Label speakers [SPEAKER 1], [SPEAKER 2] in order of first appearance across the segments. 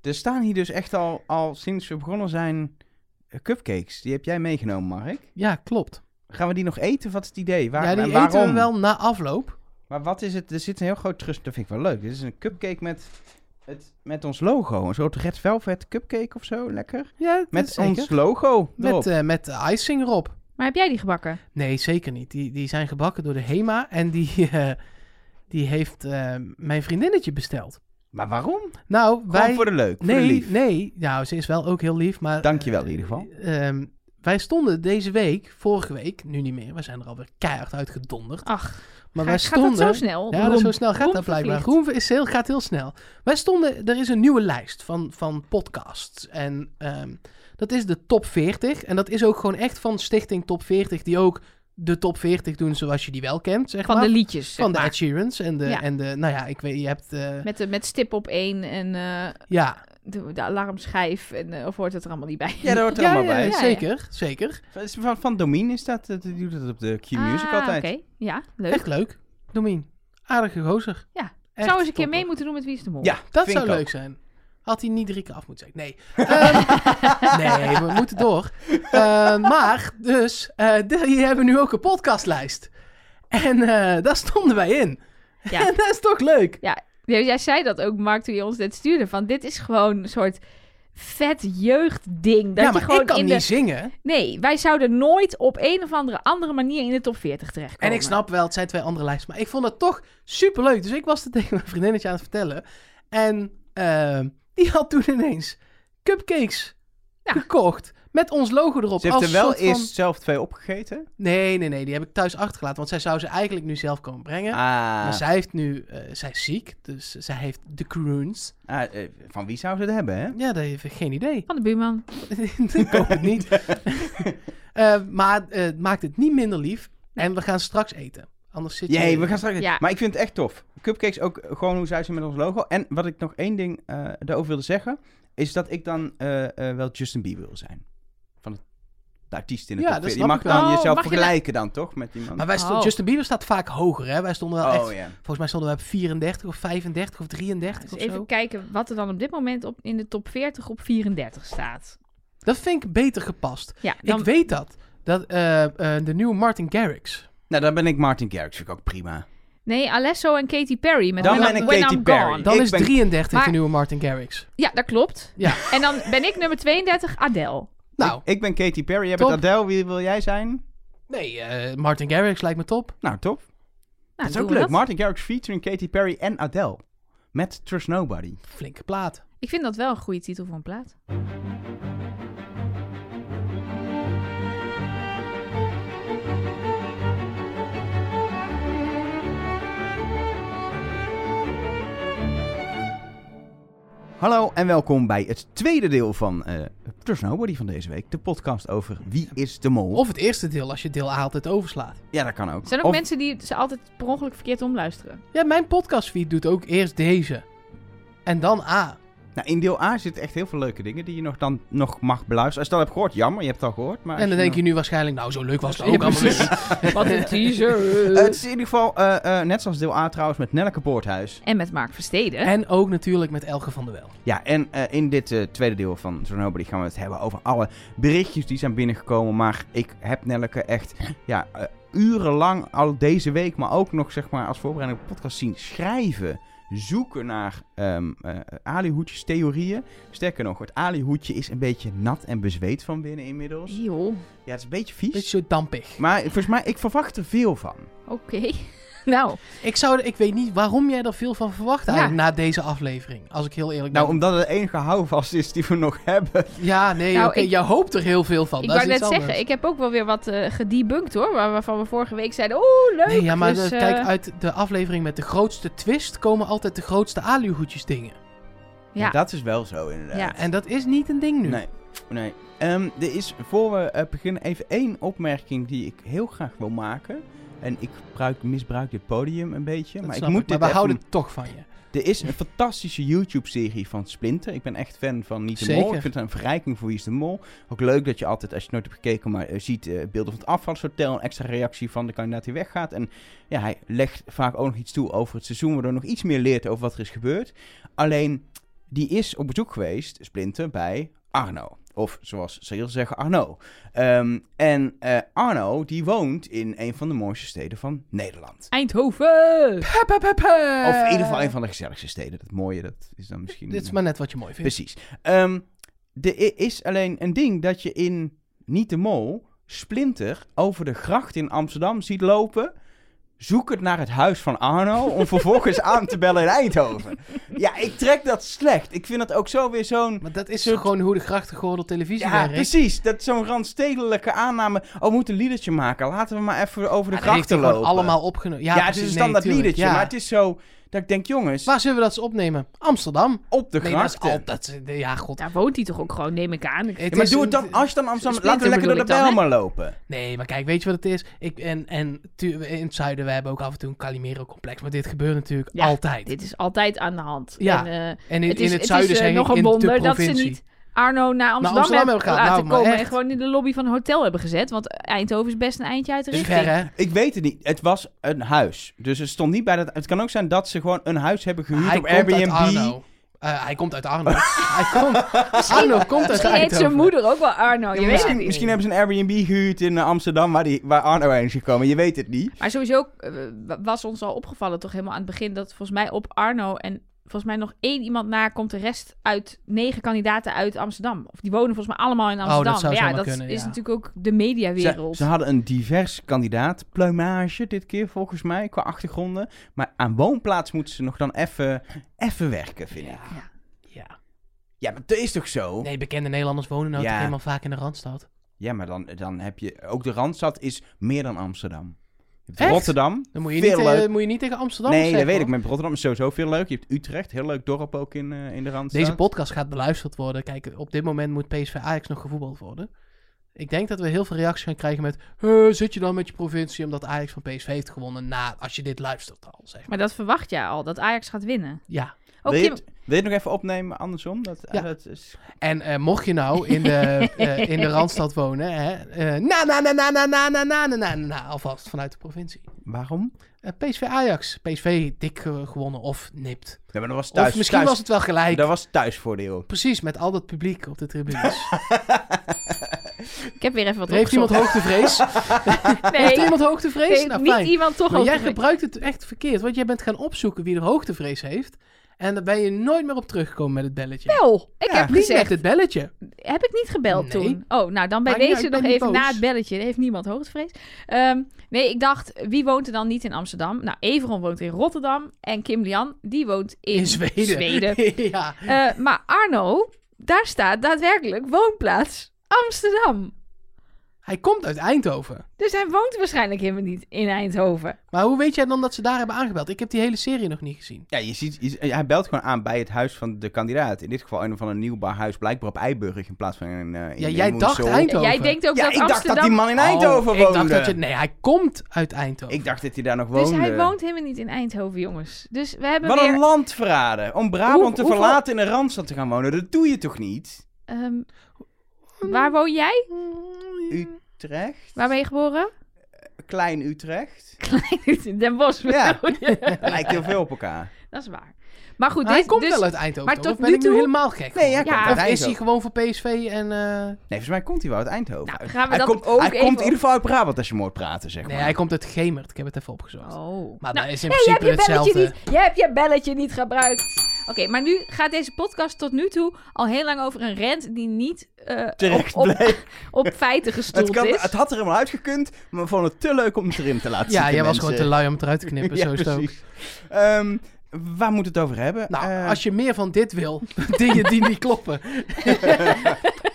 [SPEAKER 1] Er staan hier dus echt al, al sinds we begonnen zijn eh, cupcakes. Die heb jij meegenomen, Mark.
[SPEAKER 2] Ja, klopt.
[SPEAKER 1] Gaan we die nog eten? Wat is het idee? Waar,
[SPEAKER 2] ja, die
[SPEAKER 1] en waarom?
[SPEAKER 2] eten we wel na afloop.
[SPEAKER 1] Maar wat is het? Er zit een heel groot trust. Dat vind ik wel leuk. Dit is een cupcake met, het, met ons logo. Een soort red velvet cupcake of zo. Lekker.
[SPEAKER 2] Ja, dat
[SPEAKER 1] Met
[SPEAKER 2] zeker.
[SPEAKER 1] ons logo erop.
[SPEAKER 2] Met, eh met de icing erop.
[SPEAKER 3] Maar heb jij die gebakken?
[SPEAKER 2] Nee, zeker niet. Die, die zijn gebakken door de HEMA en die, eh, die heeft eh, mijn vriendinnetje besteld.
[SPEAKER 1] Maar waarom?
[SPEAKER 2] Nou, wij...
[SPEAKER 1] Gewoon voor de leuk. Voor de
[SPEAKER 2] nee,
[SPEAKER 1] lief.
[SPEAKER 2] nee. Nou, ze is wel ook heel lief, maar...
[SPEAKER 1] Dankjewel in ieder geval.
[SPEAKER 2] Ehm, wij stonden deze week, vorige week, nu niet meer, we zijn er alweer keihard uitgedonderd.
[SPEAKER 3] Ach,
[SPEAKER 2] Maar
[SPEAKER 3] ga-
[SPEAKER 2] wij
[SPEAKER 3] gaat dat
[SPEAKER 2] stonden.
[SPEAKER 3] zo snel?
[SPEAKER 2] Ja, dat
[SPEAKER 3] Roem-
[SPEAKER 2] zo snel gaat dat
[SPEAKER 3] roemverplicht.
[SPEAKER 2] blijkbaar. Groen is heel, gaat heel snel. Wij stonden, er is een nieuwe lijst van, van podcasts. En ehm, dat is de top 40. En dat is ook gewoon echt van Stichting Top 40, die ook de top 40 doen zoals je die wel kent. Zeg
[SPEAKER 3] Van
[SPEAKER 2] maar.
[SPEAKER 3] de liedjes, zeg
[SPEAKER 2] van de
[SPEAKER 3] maar.
[SPEAKER 2] Ed Sheerans en de,
[SPEAKER 3] Ja.
[SPEAKER 2] en de, nou ja, ik weet, je hebt, eh,
[SPEAKER 3] Met, de, met stip op één en eh,
[SPEAKER 2] ja,
[SPEAKER 3] de, de alarmschijf. En, eh, of hoort het er allemaal niet bij?
[SPEAKER 1] Ja, daar hoort er
[SPEAKER 2] ja,
[SPEAKER 1] allemaal bij.
[SPEAKER 2] ja,
[SPEAKER 3] ja.
[SPEAKER 2] eh, zeker, zeker.
[SPEAKER 1] Het is Van, van Domien is dat. eh, Die doet dat op de Q-Music
[SPEAKER 3] Ah,
[SPEAKER 1] altijd.
[SPEAKER 3] oké. Ja, leuk.
[SPEAKER 2] Echt leuk. Domien, aardige gozer.
[SPEAKER 3] Ja.
[SPEAKER 2] Echt
[SPEAKER 3] zou eens een keer
[SPEAKER 2] topper.
[SPEAKER 3] mee moeten doen met Wie is de Mol.
[SPEAKER 1] Ja,
[SPEAKER 2] Dat
[SPEAKER 1] vind
[SPEAKER 2] zou
[SPEAKER 1] ik ook.
[SPEAKER 2] leuk zijn. Had hij niet drie keer af moeten zijn. Nee. Ehm, nee, we moeten door. Ehm, maar, dus, eh, de- hier hebben we nu ook een podcastlijst. En eh, daar stonden wij in.
[SPEAKER 3] Ja.
[SPEAKER 2] En dat is toch leuk?
[SPEAKER 3] Ja, Jij zei dat ook, Mark, toen je ons dit stuurde. Van dit is gewoon een soort vet jeugdding. Dat
[SPEAKER 2] ja,
[SPEAKER 3] je
[SPEAKER 2] maar
[SPEAKER 3] gewoon
[SPEAKER 2] ik kan
[SPEAKER 3] in
[SPEAKER 2] niet
[SPEAKER 3] de...
[SPEAKER 2] zingen.
[SPEAKER 3] Nee, wij zouden nooit op een of andere, andere manier in de top 40
[SPEAKER 2] En
[SPEAKER 3] terechtkomen.
[SPEAKER 2] ik snap wel, het zijn twee andere lijsten. Maar ik vond het toch superleuk. Dus ik was het tegen mijn vriendinnetje aan het vertellen. En ehm, die had toen ineens cupcakes
[SPEAKER 3] Ja.
[SPEAKER 2] gekocht. Met ons logo erop.
[SPEAKER 1] Ze heeft
[SPEAKER 2] als
[SPEAKER 1] er wel
[SPEAKER 2] soort van-
[SPEAKER 1] eerst zelf twee opgegeten.
[SPEAKER 2] Nee, nee, nee. Die heb ik thuis achtergelaten. Want zij zou ze eigenlijk nu zelf komen brengen. Maar
[SPEAKER 1] Ah,
[SPEAKER 2] zij, heeft nu, eh, zij is ziek. Dus zij heeft de croons.
[SPEAKER 1] ah, eh, van wie zou ze het hebben, hè?
[SPEAKER 2] Ja, dat heeft geen idee.
[SPEAKER 3] Van de buurman.
[SPEAKER 2] ik hoop het niet. Eh, maar eh, het maakt het niet minder lief. En we gaan straks eten. Anders zit
[SPEAKER 1] Jee,
[SPEAKER 2] je...
[SPEAKER 1] we gaan straks...
[SPEAKER 3] Ja.
[SPEAKER 1] Maar ik vind het echt tof. Cupcakes ook eh, gewoon hoe zij ze met ons logo. En wat ik nog één ding eh daarover wilde zeggen... is dat ik dan eh, eh, wel Justin Bieber wil zijn. Van het, de artiest in het
[SPEAKER 2] Ja,
[SPEAKER 1] top
[SPEAKER 2] dat
[SPEAKER 1] 40. Je
[SPEAKER 2] snap
[SPEAKER 1] mag
[SPEAKER 2] ik wel.
[SPEAKER 1] dan
[SPEAKER 3] Oh,
[SPEAKER 1] jezelf
[SPEAKER 3] mag je
[SPEAKER 1] vergelijken dan, toch? Met iemand.
[SPEAKER 2] Maar wij stonden-
[SPEAKER 3] Oh.
[SPEAKER 2] Justin Bieber staat vaak hoger, hè? Wij stonden wel echt...
[SPEAKER 1] oh, ja.
[SPEAKER 2] Volgens mij stonden we op 34 of 35 of 33
[SPEAKER 3] Dus
[SPEAKER 2] of
[SPEAKER 3] even
[SPEAKER 2] zo.
[SPEAKER 3] kijken wat er dan op dit moment op, in de top 40 op 34 staat.
[SPEAKER 2] Dat vind ik beter gepast.
[SPEAKER 3] Ja, dan...
[SPEAKER 2] Ik weet dat. Dat eh, eh, de nieuwe Martin Garrix.
[SPEAKER 1] Nou, dan ben ik Martin Garrix. Vind ik ook prima.
[SPEAKER 3] Nee, Alesso en Katy Perry met
[SPEAKER 1] Dan
[SPEAKER 3] When,
[SPEAKER 1] ben
[SPEAKER 3] I'm-
[SPEAKER 1] ik
[SPEAKER 3] When
[SPEAKER 1] Katy
[SPEAKER 3] I'm
[SPEAKER 1] Perry.
[SPEAKER 3] Gone.
[SPEAKER 2] Dan
[SPEAKER 1] Ik
[SPEAKER 2] is
[SPEAKER 1] ben-
[SPEAKER 2] 33
[SPEAKER 3] Maar-
[SPEAKER 2] de nieuwe Martin Garrix.
[SPEAKER 3] Ja, dat klopt.
[SPEAKER 2] Ja.
[SPEAKER 3] En dan ben ik nummer 32, Adele.
[SPEAKER 2] Nou,
[SPEAKER 1] Ik ben Katy Perry. Jij
[SPEAKER 2] Top.
[SPEAKER 1] bent Adele. Wie wil jij zijn?
[SPEAKER 2] nee, eh, Martin Garrix lijkt me top.
[SPEAKER 1] Nou, top.
[SPEAKER 3] Nou,
[SPEAKER 1] dat is ook
[SPEAKER 3] doen
[SPEAKER 1] leuk.
[SPEAKER 3] we dat.
[SPEAKER 1] Martin Garrix featuring Katy Perry en Adele. Met Trust Nobody.
[SPEAKER 2] Flinke plaat.
[SPEAKER 3] Ik vind dat wel een goede titel voor een plaat.
[SPEAKER 1] Hallo en welkom bij het tweede deel van eh Trust Nobody van deze week. De podcast over Wie is de Mol.
[SPEAKER 2] Of het eerste deel, als je deel A altijd overslaat.
[SPEAKER 1] ja, dat kan ook.
[SPEAKER 3] Er zijn ook
[SPEAKER 1] Of-
[SPEAKER 3] mensen die ze altijd per ongeluk verkeerd omluisteren.
[SPEAKER 2] Ja, mijn podcastfeed doet ook eerst deze. En dan A.
[SPEAKER 1] Nou, in deel A zitten echt heel veel leuke dingen die je nog dan nog mag beluisteren. Als je dat hebt gehoord, jammer, je hebt het al gehoord. Maar als
[SPEAKER 2] En dan denk je nu waarschijnlijk, nou zo leuk was het ook allemaal niet.
[SPEAKER 3] Wat een teaser.
[SPEAKER 1] Eh, het is in ieder geval, eh, eh, net zoals deel A trouwens, met Nelleke Poorthuis.
[SPEAKER 3] En met Mark Versteden.
[SPEAKER 2] En ook natuurlijk met Elge van der Wel.
[SPEAKER 1] Ja, en eh, in dit eh, tweede deel van Trust Nobody gaan we het hebben over alle berichtjes die zijn binnengekomen. Maar ik heb Nelleke echt ja, eh, urenlang, al deze week, maar ook nog zeg maar als voorbereiding op de podcast zien schrijven. Zoeken naar ehm eh alihoedjes theorieën. Sterker nog, het alihoedje is een beetje nat en bezweet van binnen inmiddels.
[SPEAKER 3] Joh,
[SPEAKER 1] Ja, het is een beetje vies.
[SPEAKER 2] Beetje zo dampig.
[SPEAKER 1] Maar volgens mij, ik verwacht er veel van.
[SPEAKER 3] oké. nou,
[SPEAKER 2] Ik, zou, ik weet niet waarom jij er veel van verwacht
[SPEAKER 3] Ja.
[SPEAKER 2] eigenlijk na deze aflevering. Als ik heel eerlijk ben.
[SPEAKER 1] Nou, omdat het de enige houvast is die we nog hebben.
[SPEAKER 2] Ja, nee,
[SPEAKER 3] Nou,
[SPEAKER 2] oké,
[SPEAKER 3] ik-
[SPEAKER 2] jij hoopt er heel veel van.
[SPEAKER 3] ik
[SPEAKER 2] dat
[SPEAKER 3] wou
[SPEAKER 2] is
[SPEAKER 3] net
[SPEAKER 2] iets
[SPEAKER 3] zeggen,
[SPEAKER 2] anders.
[SPEAKER 3] ik heb ook wel weer wat eh gedebunked hoor. waar- Waarvan we vorige week zeiden, oeh, leuk.
[SPEAKER 2] Nee, ja, maar
[SPEAKER 3] Dus,
[SPEAKER 2] de-
[SPEAKER 3] eh,
[SPEAKER 2] kijk, uit de aflevering met de grootste twist komen altijd de grootste aluhoedjes dingen.
[SPEAKER 3] Ja.
[SPEAKER 1] Dat is wel zo, inderdaad.
[SPEAKER 3] Ja.
[SPEAKER 2] En dat is niet een ding nu.
[SPEAKER 1] Nee, nee. Ehm, er is voor we eh, beginnen even één opmerking die ik heel graag wil maken. En ik gebruik, misbruik dit podium een beetje.
[SPEAKER 2] Dat
[SPEAKER 1] maar ik
[SPEAKER 2] snap
[SPEAKER 1] moet dit
[SPEAKER 2] maar we
[SPEAKER 1] even-
[SPEAKER 2] houden het toch van je.
[SPEAKER 1] Er is een fantastische YouTube-serie van Splinter. Ik ben echt fan van Niet de
[SPEAKER 2] Zeker.
[SPEAKER 1] Mol. Ik vind het een verrijking voor Wie is de Mol. Ook leuk dat je altijd, als je het nooit hebt gekeken, maar eh, ziet eh, beelden van het afvalshotel. Een extra reactie van de kandidaat die weggaat. En ja, hij legt vaak ook nog iets toe over het seizoen, waardoor nog iets meer leert over wat er is gebeurd. Alleen, die is op bezoek geweest, Splinter, bij Arno. Of zoals ze hier zeggen, Arno. Ehm, en eh, Arno, die woont in een van de mooiste steden van Nederland.
[SPEAKER 3] Eindhoven!
[SPEAKER 2] Hup, hup, hup, hup.
[SPEAKER 1] Of in ieder geval een van de gezelligste steden. Dat mooie, dat is dan misschien...
[SPEAKER 2] Eh,
[SPEAKER 1] eh,
[SPEAKER 2] Dit is maar net wat je mooi vindt.
[SPEAKER 1] Precies. Ehm er i- is alleen een ding dat je in Niet de Mol Splinter over de gracht in Amsterdam ziet lopen. Zoek het naar het huis van Arno om vervolgens aan te bellen in Eindhoven. Ja, ik trek dat slecht. Ik vind dat ook zo weer zo'n...
[SPEAKER 2] Maar dat is
[SPEAKER 1] Soort-
[SPEAKER 2] gewoon hoe de grachtengordel televisie
[SPEAKER 1] Ja,
[SPEAKER 2] werkt.
[SPEAKER 1] precies. Dat is zo'n randstedelijke aanname. Oh, we moeten een liedertje maken. Laten we maar even over de
[SPEAKER 2] Ja, dat heeft
[SPEAKER 1] grachten
[SPEAKER 2] hij
[SPEAKER 1] lopen.
[SPEAKER 2] gewoon allemaal opgenomen.
[SPEAKER 1] Ja,
[SPEAKER 2] Ja,
[SPEAKER 1] het is
[SPEAKER 2] precies.
[SPEAKER 1] een
[SPEAKER 2] Nee,
[SPEAKER 1] standaard
[SPEAKER 2] tuurlijk.
[SPEAKER 1] liedertje.
[SPEAKER 2] Ja.
[SPEAKER 1] Maar het is zo dat ik denk, jongens,
[SPEAKER 2] Waar zullen we dat eens opnemen? Amsterdam.
[SPEAKER 1] op de
[SPEAKER 2] Nee, dat is
[SPEAKER 1] grachten.
[SPEAKER 2] al... Dat, is- ja, god.
[SPEAKER 3] Daar woont hij toch ook gewoon, neem ik aan.
[SPEAKER 2] Het
[SPEAKER 1] Ja, maar
[SPEAKER 2] is
[SPEAKER 1] doe
[SPEAKER 2] een-
[SPEAKER 1] het dan, als je dan Amsterdam...
[SPEAKER 3] Splinter
[SPEAKER 1] Laten we lekker door de
[SPEAKER 3] bedoel ik dan,
[SPEAKER 1] Bijlmer lopen.
[SPEAKER 2] Nee, maar kijk, weet je wat het is? Ik, en en tu- in het zuiden, we hebben ook af en toe een Calimero-complex. Maar dit gebeurt natuurlijk
[SPEAKER 3] Ja,
[SPEAKER 2] altijd.
[SPEAKER 3] Dit is altijd aan de hand.
[SPEAKER 2] Ja.
[SPEAKER 3] En, eh,
[SPEAKER 2] en in
[SPEAKER 3] het
[SPEAKER 2] het,
[SPEAKER 3] is,
[SPEAKER 2] in het,
[SPEAKER 3] het
[SPEAKER 2] zuiden
[SPEAKER 3] is eh,
[SPEAKER 2] zijn
[SPEAKER 3] nog een wonder dat ze niet Arno naar Amsterdam,
[SPEAKER 2] Amsterdam
[SPEAKER 3] hebben
[SPEAKER 2] hebben gehaald.
[SPEAKER 3] laten
[SPEAKER 2] Nou, maar
[SPEAKER 3] komen en
[SPEAKER 2] echt.
[SPEAKER 3] gewoon in de lobby van een hotel hebben gezet. Want Eindhoven is best een eindje uit de
[SPEAKER 2] Dus
[SPEAKER 3] richting.
[SPEAKER 2] ver, hè?
[SPEAKER 1] Ik weet het niet. Het was een huis. Dus het stond niet bij dat. Het kan ook zijn dat ze gewoon een huis hebben gehuurd
[SPEAKER 2] Hij
[SPEAKER 1] op
[SPEAKER 2] komt uit
[SPEAKER 1] Airbnb.
[SPEAKER 2] Arno. Eh, hij komt uit Arno. hij komt... Arno komt uit
[SPEAKER 3] Misschien heet zijn
[SPEAKER 2] Eindhoven.
[SPEAKER 3] moeder ook wel Arno,
[SPEAKER 2] Ja,
[SPEAKER 3] je weet het
[SPEAKER 1] Misschien,
[SPEAKER 3] niet.
[SPEAKER 1] misschien hebben ze een Airbnb gehuurd in eh, Amsterdam waar, die, waar Arno heen is gekomen. Je weet het niet.
[SPEAKER 3] Maar sowieso eh, wa- was ons al opgevallen toch helemaal aan het begin... dat volgens mij op Arno en volgens mij nog één iemand na... komt de rest uit negen kandidaten uit Amsterdam. Of die wonen volgens mij allemaal in
[SPEAKER 2] Oh, dat
[SPEAKER 3] Amsterdam.
[SPEAKER 2] zou
[SPEAKER 3] ja,
[SPEAKER 2] zomaar
[SPEAKER 3] dat
[SPEAKER 2] kunnen,
[SPEAKER 3] is
[SPEAKER 2] ja.
[SPEAKER 3] natuurlijk ook de
[SPEAKER 1] Ze,
[SPEAKER 3] mediawereld.
[SPEAKER 1] ze hadden een divers kandidaat pluimage dit keer volgens mij qua achtergronden. Maar aan woonplaats moeten ze nog dan even even werken, vind ik.
[SPEAKER 2] Ja. Ja.
[SPEAKER 1] Ja, maar dat is toch zo?
[SPEAKER 2] Nee, bekende Nederlanders wonen nou
[SPEAKER 1] Ja.
[SPEAKER 2] toch helemaal vaak in de Randstad.
[SPEAKER 1] Ja, maar dan, dan heb je... Ook de Randstad is meer dan Amsterdam. Je hebt
[SPEAKER 2] Echt?
[SPEAKER 1] Rotterdam.
[SPEAKER 2] Dan moet je,
[SPEAKER 1] Veel
[SPEAKER 2] niet, eh,
[SPEAKER 1] leuk.
[SPEAKER 2] moet je niet tegen Amsterdam
[SPEAKER 1] nee,
[SPEAKER 2] zeggen,
[SPEAKER 1] dat weet
[SPEAKER 2] hoor.
[SPEAKER 1] ik. Maar Rotterdam is sowieso veel leuk. Je hebt Utrecht, heel leuk dorp ook in, eh, in de Randstad.
[SPEAKER 2] Deze podcast gaat beluisterd worden. Kijk, op dit moment moet PSV Ajax nog gevoetbald worden. Ik denk dat we heel veel reacties gaan krijgen met... "Eh, zit je dan met je provincie omdat Ajax van PSV heeft gewonnen? Na, als je dit luistert al, zeg maar.
[SPEAKER 3] Maar dat verwacht jij al, dat Ajax gaat winnen.
[SPEAKER 2] Ja.
[SPEAKER 1] wil,
[SPEAKER 3] Ook
[SPEAKER 1] je
[SPEAKER 3] Kim-
[SPEAKER 1] het, wil je het nog even opnemen andersom? Dat,
[SPEAKER 2] Ja.
[SPEAKER 1] dat is...
[SPEAKER 2] En eh, mocht je nou in de, eh, in de Randstad wonen... Hè, eh, na, na, na, na, na, na, na, na, na, na, na, alvast vanuit de provincie.
[SPEAKER 1] Waarom?
[SPEAKER 2] Eh, PSV Ajax. PSV dik eh, gewonnen of nipt.
[SPEAKER 1] Ja, maar dat was thuis.
[SPEAKER 2] of misschien
[SPEAKER 1] thuis-
[SPEAKER 2] was het wel gelijk.
[SPEAKER 1] Dat was thuisvoordeel.
[SPEAKER 2] Precies, met al dat publiek op de tribunes.
[SPEAKER 3] Ik heb weer even wat
[SPEAKER 2] Er heeft iemand
[SPEAKER 3] opgezocht.
[SPEAKER 2] hoogtevrees?
[SPEAKER 3] Nee,
[SPEAKER 2] Heeft iemand hoogtevrees?
[SPEAKER 3] nee,
[SPEAKER 2] nou,
[SPEAKER 3] niet
[SPEAKER 2] fijn.
[SPEAKER 3] iemand toch
[SPEAKER 2] Maar
[SPEAKER 3] ook.
[SPEAKER 2] jij gebruikt het echt verkeerd, want jij bent gaan opzoeken wie er hoogtevrees heeft. En daar ben je nooit meer op teruggekomen met het belletje.
[SPEAKER 3] Wel, ik
[SPEAKER 1] Ja,
[SPEAKER 3] heb
[SPEAKER 2] niet
[SPEAKER 3] gezegd.
[SPEAKER 2] met het belletje.
[SPEAKER 3] Heb ik niet gebeld
[SPEAKER 2] Nee.
[SPEAKER 3] toen? Oh, nou dan bij
[SPEAKER 2] Maakt niet
[SPEAKER 3] deze
[SPEAKER 2] uit, ik
[SPEAKER 3] nog
[SPEAKER 2] ben niet
[SPEAKER 3] even
[SPEAKER 2] boos.
[SPEAKER 3] na het belletje. Er heeft niemand hoogtevrees. Ehm, nee, ik dacht, wie woont er dan niet in Amsterdam? Nou, Everon woont in Rotterdam. En Kim Lian, die woont in,
[SPEAKER 2] In Zweden. ja.
[SPEAKER 3] Eh, maar Arno, daar staat daadwerkelijk woonplaats Amsterdam.
[SPEAKER 2] Hij komt uit Eindhoven.
[SPEAKER 3] Dus hij woont waarschijnlijk helemaal niet in Eindhoven.
[SPEAKER 2] Maar hoe weet jij dan dat ze daar hebben aangebeld? Ik heb die hele serie nog niet gezien.
[SPEAKER 1] Ja, je ziet, je- hij belt gewoon aan bij het huis van de kandidaat. In dit geval een van een nieuwbaar huis, blijkbaar op Eiburg in plaats van in, eh, in
[SPEAKER 2] Ja,
[SPEAKER 1] in
[SPEAKER 2] jij dacht
[SPEAKER 1] Woensel.
[SPEAKER 2] Eindhoven.
[SPEAKER 3] Jij denkt ook
[SPEAKER 1] Ja,
[SPEAKER 3] dat
[SPEAKER 1] ik dacht
[SPEAKER 3] Amsterdam...
[SPEAKER 1] dat die man in Eindhoven
[SPEAKER 2] Oh,
[SPEAKER 1] woonde.
[SPEAKER 2] Ik dacht dat je... Nee, hij komt uit Eindhoven.
[SPEAKER 1] Ik dacht dat hij daar nog
[SPEAKER 3] Dus
[SPEAKER 1] woonde.
[SPEAKER 3] hij woont helemaal niet in Eindhoven, jongens. Dus we hebben
[SPEAKER 1] Wat
[SPEAKER 3] weer...
[SPEAKER 1] een landverrader. Om Brabant
[SPEAKER 3] Hoe-
[SPEAKER 1] te
[SPEAKER 3] hoeveel-
[SPEAKER 1] verlaten en in een randstad te gaan wonen, dat doe je toch niet?
[SPEAKER 3] ehm, waar woon jij?
[SPEAKER 1] Mm,
[SPEAKER 2] Hmm.
[SPEAKER 1] Utrecht?
[SPEAKER 3] Waar ben je geboren?
[SPEAKER 1] Klein Utrecht?
[SPEAKER 3] Den Bosch.
[SPEAKER 1] Ja.
[SPEAKER 3] bedoel je?
[SPEAKER 1] Lijkt heel veel op elkaar.
[SPEAKER 3] Dat is waar. Maar goed,
[SPEAKER 2] Maar hij
[SPEAKER 3] dit,
[SPEAKER 2] komt
[SPEAKER 3] dus,
[SPEAKER 2] wel uit Eindhoven.
[SPEAKER 3] maar
[SPEAKER 2] toch?
[SPEAKER 3] tot
[SPEAKER 2] Of ben
[SPEAKER 3] nu
[SPEAKER 2] ik nu
[SPEAKER 3] toe-
[SPEAKER 2] helemaal gek?
[SPEAKER 1] Nee, hij
[SPEAKER 2] geworden?
[SPEAKER 1] komt
[SPEAKER 3] Ja.
[SPEAKER 1] uit
[SPEAKER 2] Of is hij
[SPEAKER 1] Eindhoven.
[SPEAKER 2] gewoon voor PSV en... eh,
[SPEAKER 1] Nee, volgens mij komt hij wel uit Eindhoven.
[SPEAKER 3] Nou,
[SPEAKER 1] uit.
[SPEAKER 3] gaan we
[SPEAKER 1] hij
[SPEAKER 3] dat
[SPEAKER 1] komt,
[SPEAKER 3] ook
[SPEAKER 1] hij
[SPEAKER 3] even
[SPEAKER 1] komt in
[SPEAKER 3] op-
[SPEAKER 1] ieder geval uit Brabant als je hem hoort praten, zeg
[SPEAKER 2] Nee,
[SPEAKER 1] maar.
[SPEAKER 2] hij komt uit Gemert. Ik heb het even opgezocht.
[SPEAKER 3] Oh.
[SPEAKER 2] Maar
[SPEAKER 3] Nou,
[SPEAKER 2] dat is in
[SPEAKER 3] hey, je hebt
[SPEAKER 2] principe
[SPEAKER 3] je belletje
[SPEAKER 2] hetzelfde.
[SPEAKER 3] niet, je hebt je belletje niet gebruikt. Oké, maar nu gaat deze podcast tot nu toe al heel lang over een rent die niet eh,
[SPEAKER 1] Terecht
[SPEAKER 3] op, op,
[SPEAKER 1] bleek.
[SPEAKER 3] op feiten
[SPEAKER 1] Het,
[SPEAKER 3] gestoeld
[SPEAKER 1] kan,
[SPEAKER 3] is.
[SPEAKER 1] het had er helemaal uitgekund, maar we vonden het te leuk om het erin te laten
[SPEAKER 2] Ja,
[SPEAKER 1] zitten,
[SPEAKER 2] jij was
[SPEAKER 1] mensen.
[SPEAKER 2] gewoon te lui om het eruit te knippen.
[SPEAKER 1] Ja,
[SPEAKER 2] zo is het ook.
[SPEAKER 1] precies. Ehm, waar moet het over hebben?
[SPEAKER 2] Nou,
[SPEAKER 1] Eh,
[SPEAKER 2] als je meer van dit wil, dingen die niet kloppen,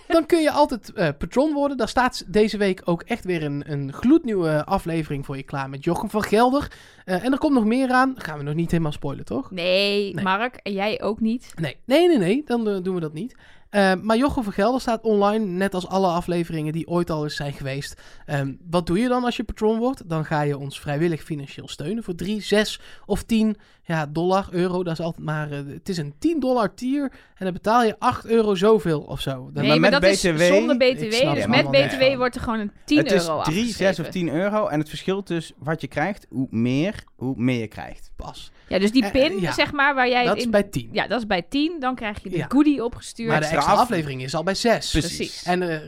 [SPEAKER 2] dan kun je altijd eh, patron worden. Daar staat deze week ook echt weer een, een gloednieuwe aflevering voor je klaar met Jochem van Gelder. Eh, en er komt nog meer aan. Gaan we nog niet helemaal spoilen, toch?
[SPEAKER 3] nee,
[SPEAKER 2] Nee.
[SPEAKER 3] Mark, en jij ook niet.
[SPEAKER 2] Nee, nee, nee, nee. Dan eh, doen we dat niet. Ehm, Eh, maar Jochem van Gelder staat online, net als alle afleveringen die ooit al eens zijn geweest. Ehm, wat doe je dan als je patron wordt? Dan ga je ons vrijwillig financieel steunen voor 3, 6 of 10 ja, dollar, euro. Dat is altijd maar, eh, het is een 10 dollar tier en dan betaal je 8 euro zoveel of zo. Dan-
[SPEAKER 3] Nee,
[SPEAKER 1] maar
[SPEAKER 3] maar,
[SPEAKER 1] met
[SPEAKER 3] dat
[SPEAKER 1] BTW
[SPEAKER 3] is zonder
[SPEAKER 2] Ik
[SPEAKER 3] BTW.
[SPEAKER 2] snap
[SPEAKER 3] Dus
[SPEAKER 1] het
[SPEAKER 3] met
[SPEAKER 2] allemaal
[SPEAKER 3] BTW
[SPEAKER 2] niet.
[SPEAKER 3] wordt er gewoon een 10
[SPEAKER 1] het is
[SPEAKER 3] euro
[SPEAKER 1] 3, 6 of
[SPEAKER 3] afgeschreven.
[SPEAKER 1] 10 euro. En het verschil tussen wat je krijgt, hoe meer, hoe meer je krijgt.
[SPEAKER 2] Pas.
[SPEAKER 3] Ja, dus die
[SPEAKER 2] Eh,
[SPEAKER 3] pin,
[SPEAKER 2] eh, ja.
[SPEAKER 3] zeg maar, waar jij
[SPEAKER 2] Dat
[SPEAKER 3] het
[SPEAKER 2] is
[SPEAKER 3] in...
[SPEAKER 2] bij 10.
[SPEAKER 3] Ja, dat is bij 10. Dan krijg je de
[SPEAKER 2] Ja.
[SPEAKER 3] goodie opgestuurd.
[SPEAKER 2] maar eh, de
[SPEAKER 1] extra
[SPEAKER 2] extra
[SPEAKER 1] af-
[SPEAKER 2] aflevering is al bij 6.
[SPEAKER 1] Precies.
[SPEAKER 3] Precies.
[SPEAKER 2] En de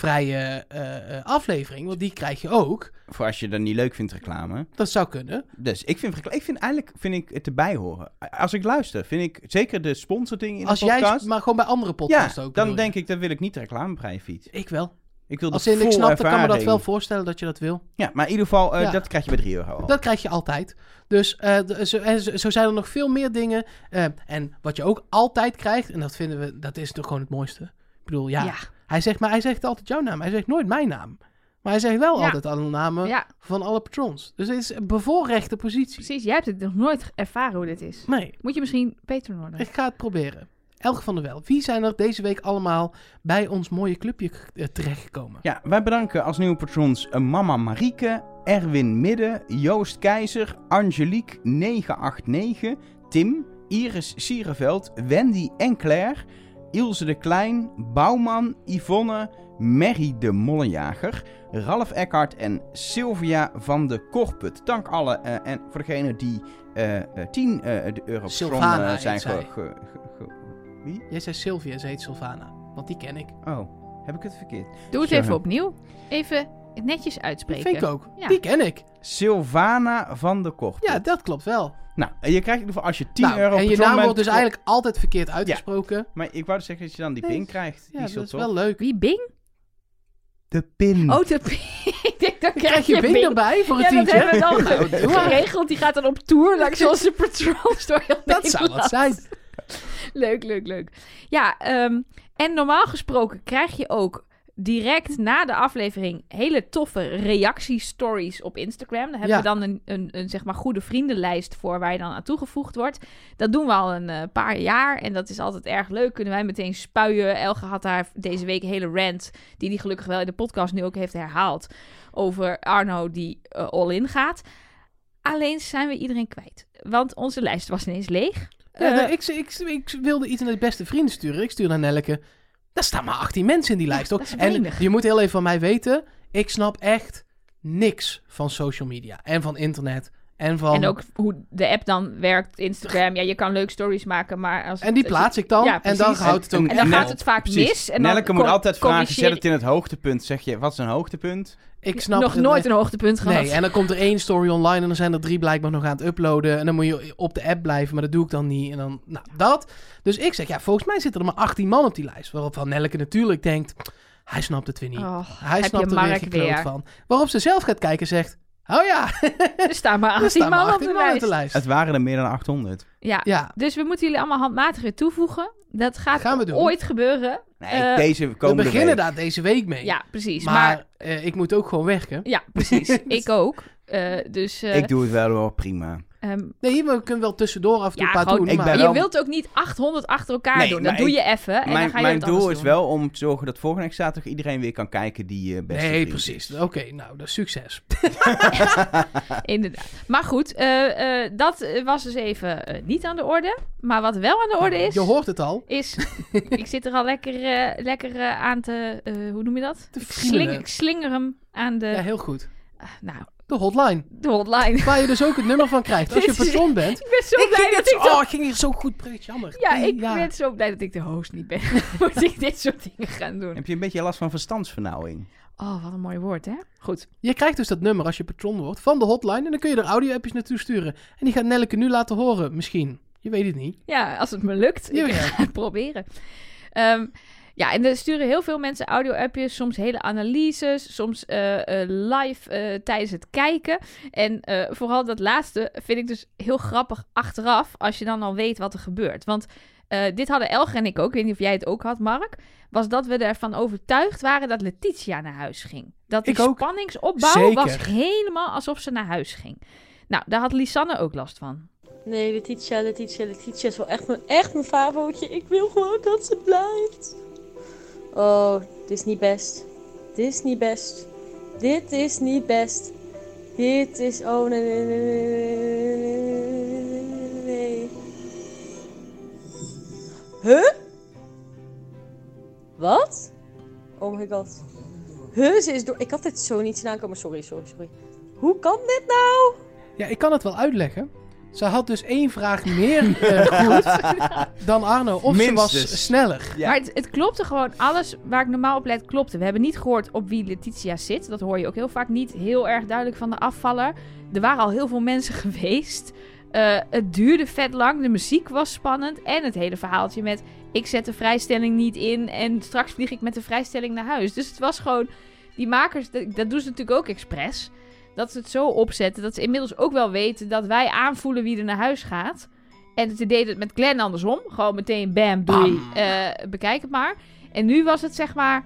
[SPEAKER 2] reclamevrije eh, eh, aflevering, want die krijg je ook.
[SPEAKER 1] Voor als je dat niet leuk vindt, reclame.
[SPEAKER 2] Dat zou kunnen.
[SPEAKER 1] Dus ik vind, recla- ik vind eigenlijk vind ik het erbij horen. Als ik luister, vind ik zeker de sponsordingen in
[SPEAKER 2] Als
[SPEAKER 1] de
[SPEAKER 2] jij,
[SPEAKER 1] podcast.
[SPEAKER 2] maar gewoon bij andere
[SPEAKER 1] ja,
[SPEAKER 2] podcasts ook.
[SPEAKER 1] dan
[SPEAKER 2] bedoel je.
[SPEAKER 1] denk ik, dan wil ik niet reclamevrij fiets.
[SPEAKER 2] ik wel.
[SPEAKER 1] Ik wil
[SPEAKER 2] Als
[SPEAKER 1] de
[SPEAKER 2] in, ik
[SPEAKER 1] full
[SPEAKER 2] snap, dan kan me dat
[SPEAKER 1] ervaring.
[SPEAKER 2] wel voorstellen dat je dat wil.
[SPEAKER 1] Ja, maar in ieder geval, eh,
[SPEAKER 2] Ja.
[SPEAKER 1] dat krijg je bij 3 euro. al.
[SPEAKER 2] Dat krijg je altijd. Dus eh, d- zo, en zo- zo zijn er nog veel meer dingen. Eh, en wat je ook altijd krijgt, en dat vinden we, dat is toch gewoon het mooiste. Ik bedoel, ja.
[SPEAKER 3] ja.
[SPEAKER 2] Hij zegt, maar hij zegt altijd jouw naam. Hij zegt nooit mijn naam. Maar hij zegt wel
[SPEAKER 3] Ja.
[SPEAKER 2] altijd alle namen
[SPEAKER 3] Ja,
[SPEAKER 2] van alle patrons. Dus het is een bevoorrechte positie.
[SPEAKER 3] precies. Jij hebt het nog nooit ervaren hoe dit is.
[SPEAKER 2] Nee,
[SPEAKER 3] Moet je misschien Patreon worden.
[SPEAKER 2] ik ga het proberen. Elk van de wel. Wie zijn er deze week allemaal bij ons mooie clubje k- eh, terechtgekomen?
[SPEAKER 1] Ja, wij bedanken als nieuwe patrons eh, Mama Marieke, Erwin Midden, Joost Keizer, Angelique 989, Tim, Iris Sierenveld, Wendy en Claire, Ilse de Klein, Bouwman, Yvonne, Mary de Mollenjager, Ralf Eckhart en Sylvia van de Korput. Dank alle eh, en voor degene die eh eh, 10 eh, de euro patron
[SPEAKER 2] Sylvana
[SPEAKER 1] eh,
[SPEAKER 2] heet
[SPEAKER 1] zijn ge,
[SPEAKER 2] zij.
[SPEAKER 1] ge- ge- ge-
[SPEAKER 2] Jij zei Sylvia, ze heet Sylvana. Want die ken ik.
[SPEAKER 1] Oh, heb ik het verkeerd?
[SPEAKER 3] Doe het
[SPEAKER 1] Zo.
[SPEAKER 3] even opnieuw. Even het netjes uitspreken.
[SPEAKER 2] Vind ik ook.
[SPEAKER 3] Ja.
[SPEAKER 2] Die ken ik.
[SPEAKER 1] Sylvana van de Korput.
[SPEAKER 2] Ja, dat klopt wel.
[SPEAKER 1] Nou, en je krijgt in ieder geval als je 10
[SPEAKER 2] Nou,
[SPEAKER 1] euro
[SPEAKER 2] en je
[SPEAKER 1] patron
[SPEAKER 2] naam
[SPEAKER 1] bent,
[SPEAKER 2] wordt dus
[SPEAKER 1] klopt.
[SPEAKER 2] eigenlijk altijd verkeerd uitgesproken.
[SPEAKER 1] Maar ik wou dus zeggen dat je dan die
[SPEAKER 2] Nee,
[SPEAKER 1] pin krijgt.
[SPEAKER 2] Ja,
[SPEAKER 1] die
[SPEAKER 2] dat is
[SPEAKER 1] toch?
[SPEAKER 2] wel leuk.
[SPEAKER 3] Wie, Bing?
[SPEAKER 1] De pin.
[SPEAKER 3] Oh, de Bing. ik denk, dan
[SPEAKER 2] Hmm. Krijg je Bing erbij voor een
[SPEAKER 3] Ja, dat
[SPEAKER 2] tientje? Oh,
[SPEAKER 3] hebben we dan
[SPEAKER 2] doe maar.
[SPEAKER 3] geregeld. Die gaat dan op tour langs onze patrols door heel
[SPEAKER 2] Dat zou wat
[SPEAKER 3] Nederland.
[SPEAKER 2] zijn.
[SPEAKER 3] Leuk, leuk, leuk. Ja, ehm, en normaal gesproken krijg je ook direct na de aflevering hele toffe reactiestories op Instagram. Daar hebben
[SPEAKER 2] Ja.
[SPEAKER 3] we dan een, een, een zeg maar goede vriendenlijst voor waar je dan aan toegevoegd wordt. Dat doen we al een eh, paar jaar en dat is altijd erg leuk. Kunnen wij meteen spuien. Elge had daar deze week een hele rant, die hij gelukkig wel in de podcast nu ook heeft herhaald, over Arno die eh, all-in gaat. Alleen zijn we iedereen kwijt, want onze lijst was ineens leeg.
[SPEAKER 2] Ja,
[SPEAKER 3] Eh,
[SPEAKER 2] nou, ik, ik, ik wilde iets naar de beste vrienden sturen. Ik stuur naar Nelke. Daar staan maar 18 mensen in die lijst. Ook.
[SPEAKER 3] dat is
[SPEAKER 2] en
[SPEAKER 3] weinig.
[SPEAKER 2] je moet heel even van mij weten. Ik snap echt niks van social media. En van internet. En van...
[SPEAKER 3] En ook hoe de app dan werkt, Instagram. Ja, je kan leuk stories maken, maar als...
[SPEAKER 2] en die
[SPEAKER 3] als-
[SPEAKER 2] plaats ik dan.
[SPEAKER 3] Ja,
[SPEAKER 2] en dan
[SPEAKER 3] precies.
[SPEAKER 2] houdt het ook
[SPEAKER 1] En-
[SPEAKER 3] En dan
[SPEAKER 2] echt
[SPEAKER 3] gaat
[SPEAKER 2] op.
[SPEAKER 3] het vaak
[SPEAKER 1] Precies.
[SPEAKER 3] mis. En dan
[SPEAKER 1] Nelke moet
[SPEAKER 3] cor-
[SPEAKER 1] altijd vragen,
[SPEAKER 3] corrigeer
[SPEAKER 1] zet het in het hoogtepunt. Zeg je, wat is een hoogtepunt?
[SPEAKER 2] Ik snap
[SPEAKER 3] Nog
[SPEAKER 2] het-
[SPEAKER 3] nooit een hoogtepunt gehad.
[SPEAKER 2] Nee, en dan komt er één story online en dan zijn er drie blijkbaar nog aan het uploaden. En dan moet je op de app blijven, maar dat doe ik dan niet. En dan, nou, dat. Dus ik zeg, ja, volgens mij zitten er maar 18 man op die lijst. Waarop Van Nelke natuurlijk denkt, hij snapt het weer niet.
[SPEAKER 3] Oh,
[SPEAKER 2] hij
[SPEAKER 3] heb
[SPEAKER 2] snapt
[SPEAKER 3] je
[SPEAKER 2] er weer
[SPEAKER 3] Mark
[SPEAKER 2] gekloot
[SPEAKER 3] weer.
[SPEAKER 2] van. Waarop ze zelf gaat kijken en zegt, oh ja,
[SPEAKER 3] er staan maar
[SPEAKER 2] er
[SPEAKER 3] 18
[SPEAKER 2] staan maar
[SPEAKER 3] man
[SPEAKER 2] 18
[SPEAKER 3] op de
[SPEAKER 2] man op de
[SPEAKER 3] lijst.
[SPEAKER 2] lijst.
[SPEAKER 1] Het waren er meer dan 800.
[SPEAKER 3] Ja.
[SPEAKER 2] Ja,
[SPEAKER 3] Dus we moeten jullie allemaal handmatig weer toevoegen. Dat gaat
[SPEAKER 2] Gaan we doen.
[SPEAKER 3] ooit gebeuren.
[SPEAKER 1] Nee,
[SPEAKER 3] Eh,
[SPEAKER 1] deze
[SPEAKER 2] we
[SPEAKER 1] komende
[SPEAKER 2] beginnen
[SPEAKER 1] week.
[SPEAKER 2] daar deze week mee.
[SPEAKER 3] Ja, precies.
[SPEAKER 2] maar
[SPEAKER 3] Maar,
[SPEAKER 2] eh, ik moet ook gewoon werken.
[SPEAKER 3] ja, precies. ik ook. Eh, dus eh,
[SPEAKER 1] Ik doe het wel hoor, prima.
[SPEAKER 3] ehm,
[SPEAKER 2] Nee, hier, we kunnen wel tussendoor af en toe
[SPEAKER 3] Ja,
[SPEAKER 2] een paar
[SPEAKER 3] gewoon-
[SPEAKER 2] doen.
[SPEAKER 1] Ik
[SPEAKER 2] maar
[SPEAKER 1] ben
[SPEAKER 3] je
[SPEAKER 1] wel-
[SPEAKER 3] wilt ook niet 800 achter elkaar
[SPEAKER 1] Nee,
[SPEAKER 3] doen.
[SPEAKER 1] maar
[SPEAKER 3] Dat doe
[SPEAKER 1] ik-
[SPEAKER 3] je even en dan
[SPEAKER 1] mijn
[SPEAKER 3] ga je
[SPEAKER 1] mijn
[SPEAKER 3] wat
[SPEAKER 1] doel
[SPEAKER 3] anders
[SPEAKER 1] is
[SPEAKER 3] doen.
[SPEAKER 1] wel om te zorgen dat volgende week zaterdag iedereen weer kan kijken die eh, beste
[SPEAKER 2] Nee,
[SPEAKER 1] vriend.
[SPEAKER 2] precies. Oké, nou, dat is succes.
[SPEAKER 3] Inderdaad. Maar goed, eh, eh, dat eh, was dus even eh, niet aan de orde. Maar wat wel aan de orde is,
[SPEAKER 2] Je hoort het al.
[SPEAKER 3] is ik zit er al lekker, eh, lekker eh, aan te, eh, hoe noem je dat?
[SPEAKER 2] Te
[SPEAKER 3] ik,
[SPEAKER 2] friemelen.
[SPEAKER 3] sling, ik slinger hem aan de,
[SPEAKER 2] Ja, heel goed.
[SPEAKER 3] ah, nou,
[SPEAKER 2] De hotline.
[SPEAKER 3] de hotline.
[SPEAKER 2] Waar je dus ook het nummer van krijgt als je
[SPEAKER 3] Dit is-
[SPEAKER 2] persoon bent.
[SPEAKER 3] ik ben zo blij dat ik...
[SPEAKER 2] Oh, ging hier zo Oh, goed breed, jammer.
[SPEAKER 3] Ja,
[SPEAKER 2] Nee,
[SPEAKER 3] ik ben zo blij dat ik de host niet ben. Moet ik dit soort dingen gaan doen.
[SPEAKER 1] Heb je een beetje last van verstandsvernauwing?
[SPEAKER 3] Oh, wat een mooi woord, hè? Goed.
[SPEAKER 2] Je krijgt dus dat nummer als je patron wordt van de hotline. En dan kun je er audio-appjes naartoe sturen. En die gaat Nelleke nu laten horen, misschien. Je weet het niet.
[SPEAKER 3] Ja, als het me lukt.
[SPEAKER 2] Ja,
[SPEAKER 3] Ik
[SPEAKER 2] ja.
[SPEAKER 3] ga het proberen. Ehm, ja, en er sturen heel veel mensen audio-appjes, soms hele analyses, soms eh, eh, live eh, tijdens het kijken. En eh, vooral dat laatste vind ik dus heel grappig achteraf, als je dan al weet wat er gebeurt. Want eh, dit hadden Elger en ik ook, ik weet niet of jij het ook had, Mark, was dat we ervan overtuigd waren dat Letitia naar huis ging. Dat die
[SPEAKER 2] Ik ook.
[SPEAKER 3] spanningsopbouw was
[SPEAKER 2] Zeker.
[SPEAKER 3] helemaal alsof ze naar huis ging. Nou, daar had Lisanne ook last van.
[SPEAKER 4] Nee, Letitia, Letitia, Letitia is wel echt mijn, echt mijn favorietje. Ik wil gewoon dat ze blijft. Oh, dit is niet best. Dit is niet best. Dit is niet best. Dit is... Oh, nee, nee, nee, nee, nee, nee, nee, nee, nee. Huh? Wat? Oh my god. Huh, ze is door... Ik had dit zo niet zien aankomen. Sorry, sorry, sorry. Hoe kan dit nou?
[SPEAKER 2] Ja, ik kan het wel uitleggen. Ze had dus één vraag meer eh, goed dan Arno. Of ze was
[SPEAKER 1] Minstens.
[SPEAKER 2] sneller.
[SPEAKER 1] Ja.
[SPEAKER 3] Maar het, het klopte gewoon. Alles waar ik normaal op let, klopte. We hebben niet gehoord op wie Letitia zit. Dat hoor je ook heel vaak niet heel erg duidelijk van de afvaller. Er waren al heel veel mensen geweest. Eh, het duurde vet lang. De muziek was spannend. En het hele verhaaltje met... ik zet de vrijstelling niet in... en straks vlieg ik met de vrijstelling naar huis. Dus het was gewoon... die makers, dat, dat doen ze natuurlijk ook expres... dat ze het zo opzetten... dat ze inmiddels ook wel weten... dat wij aanvoelen wie er naar huis gaat... En het deed het met Glenn andersom. Gewoon meteen bam, doei. eh, bekijk het maar. En nu was het zeg maar...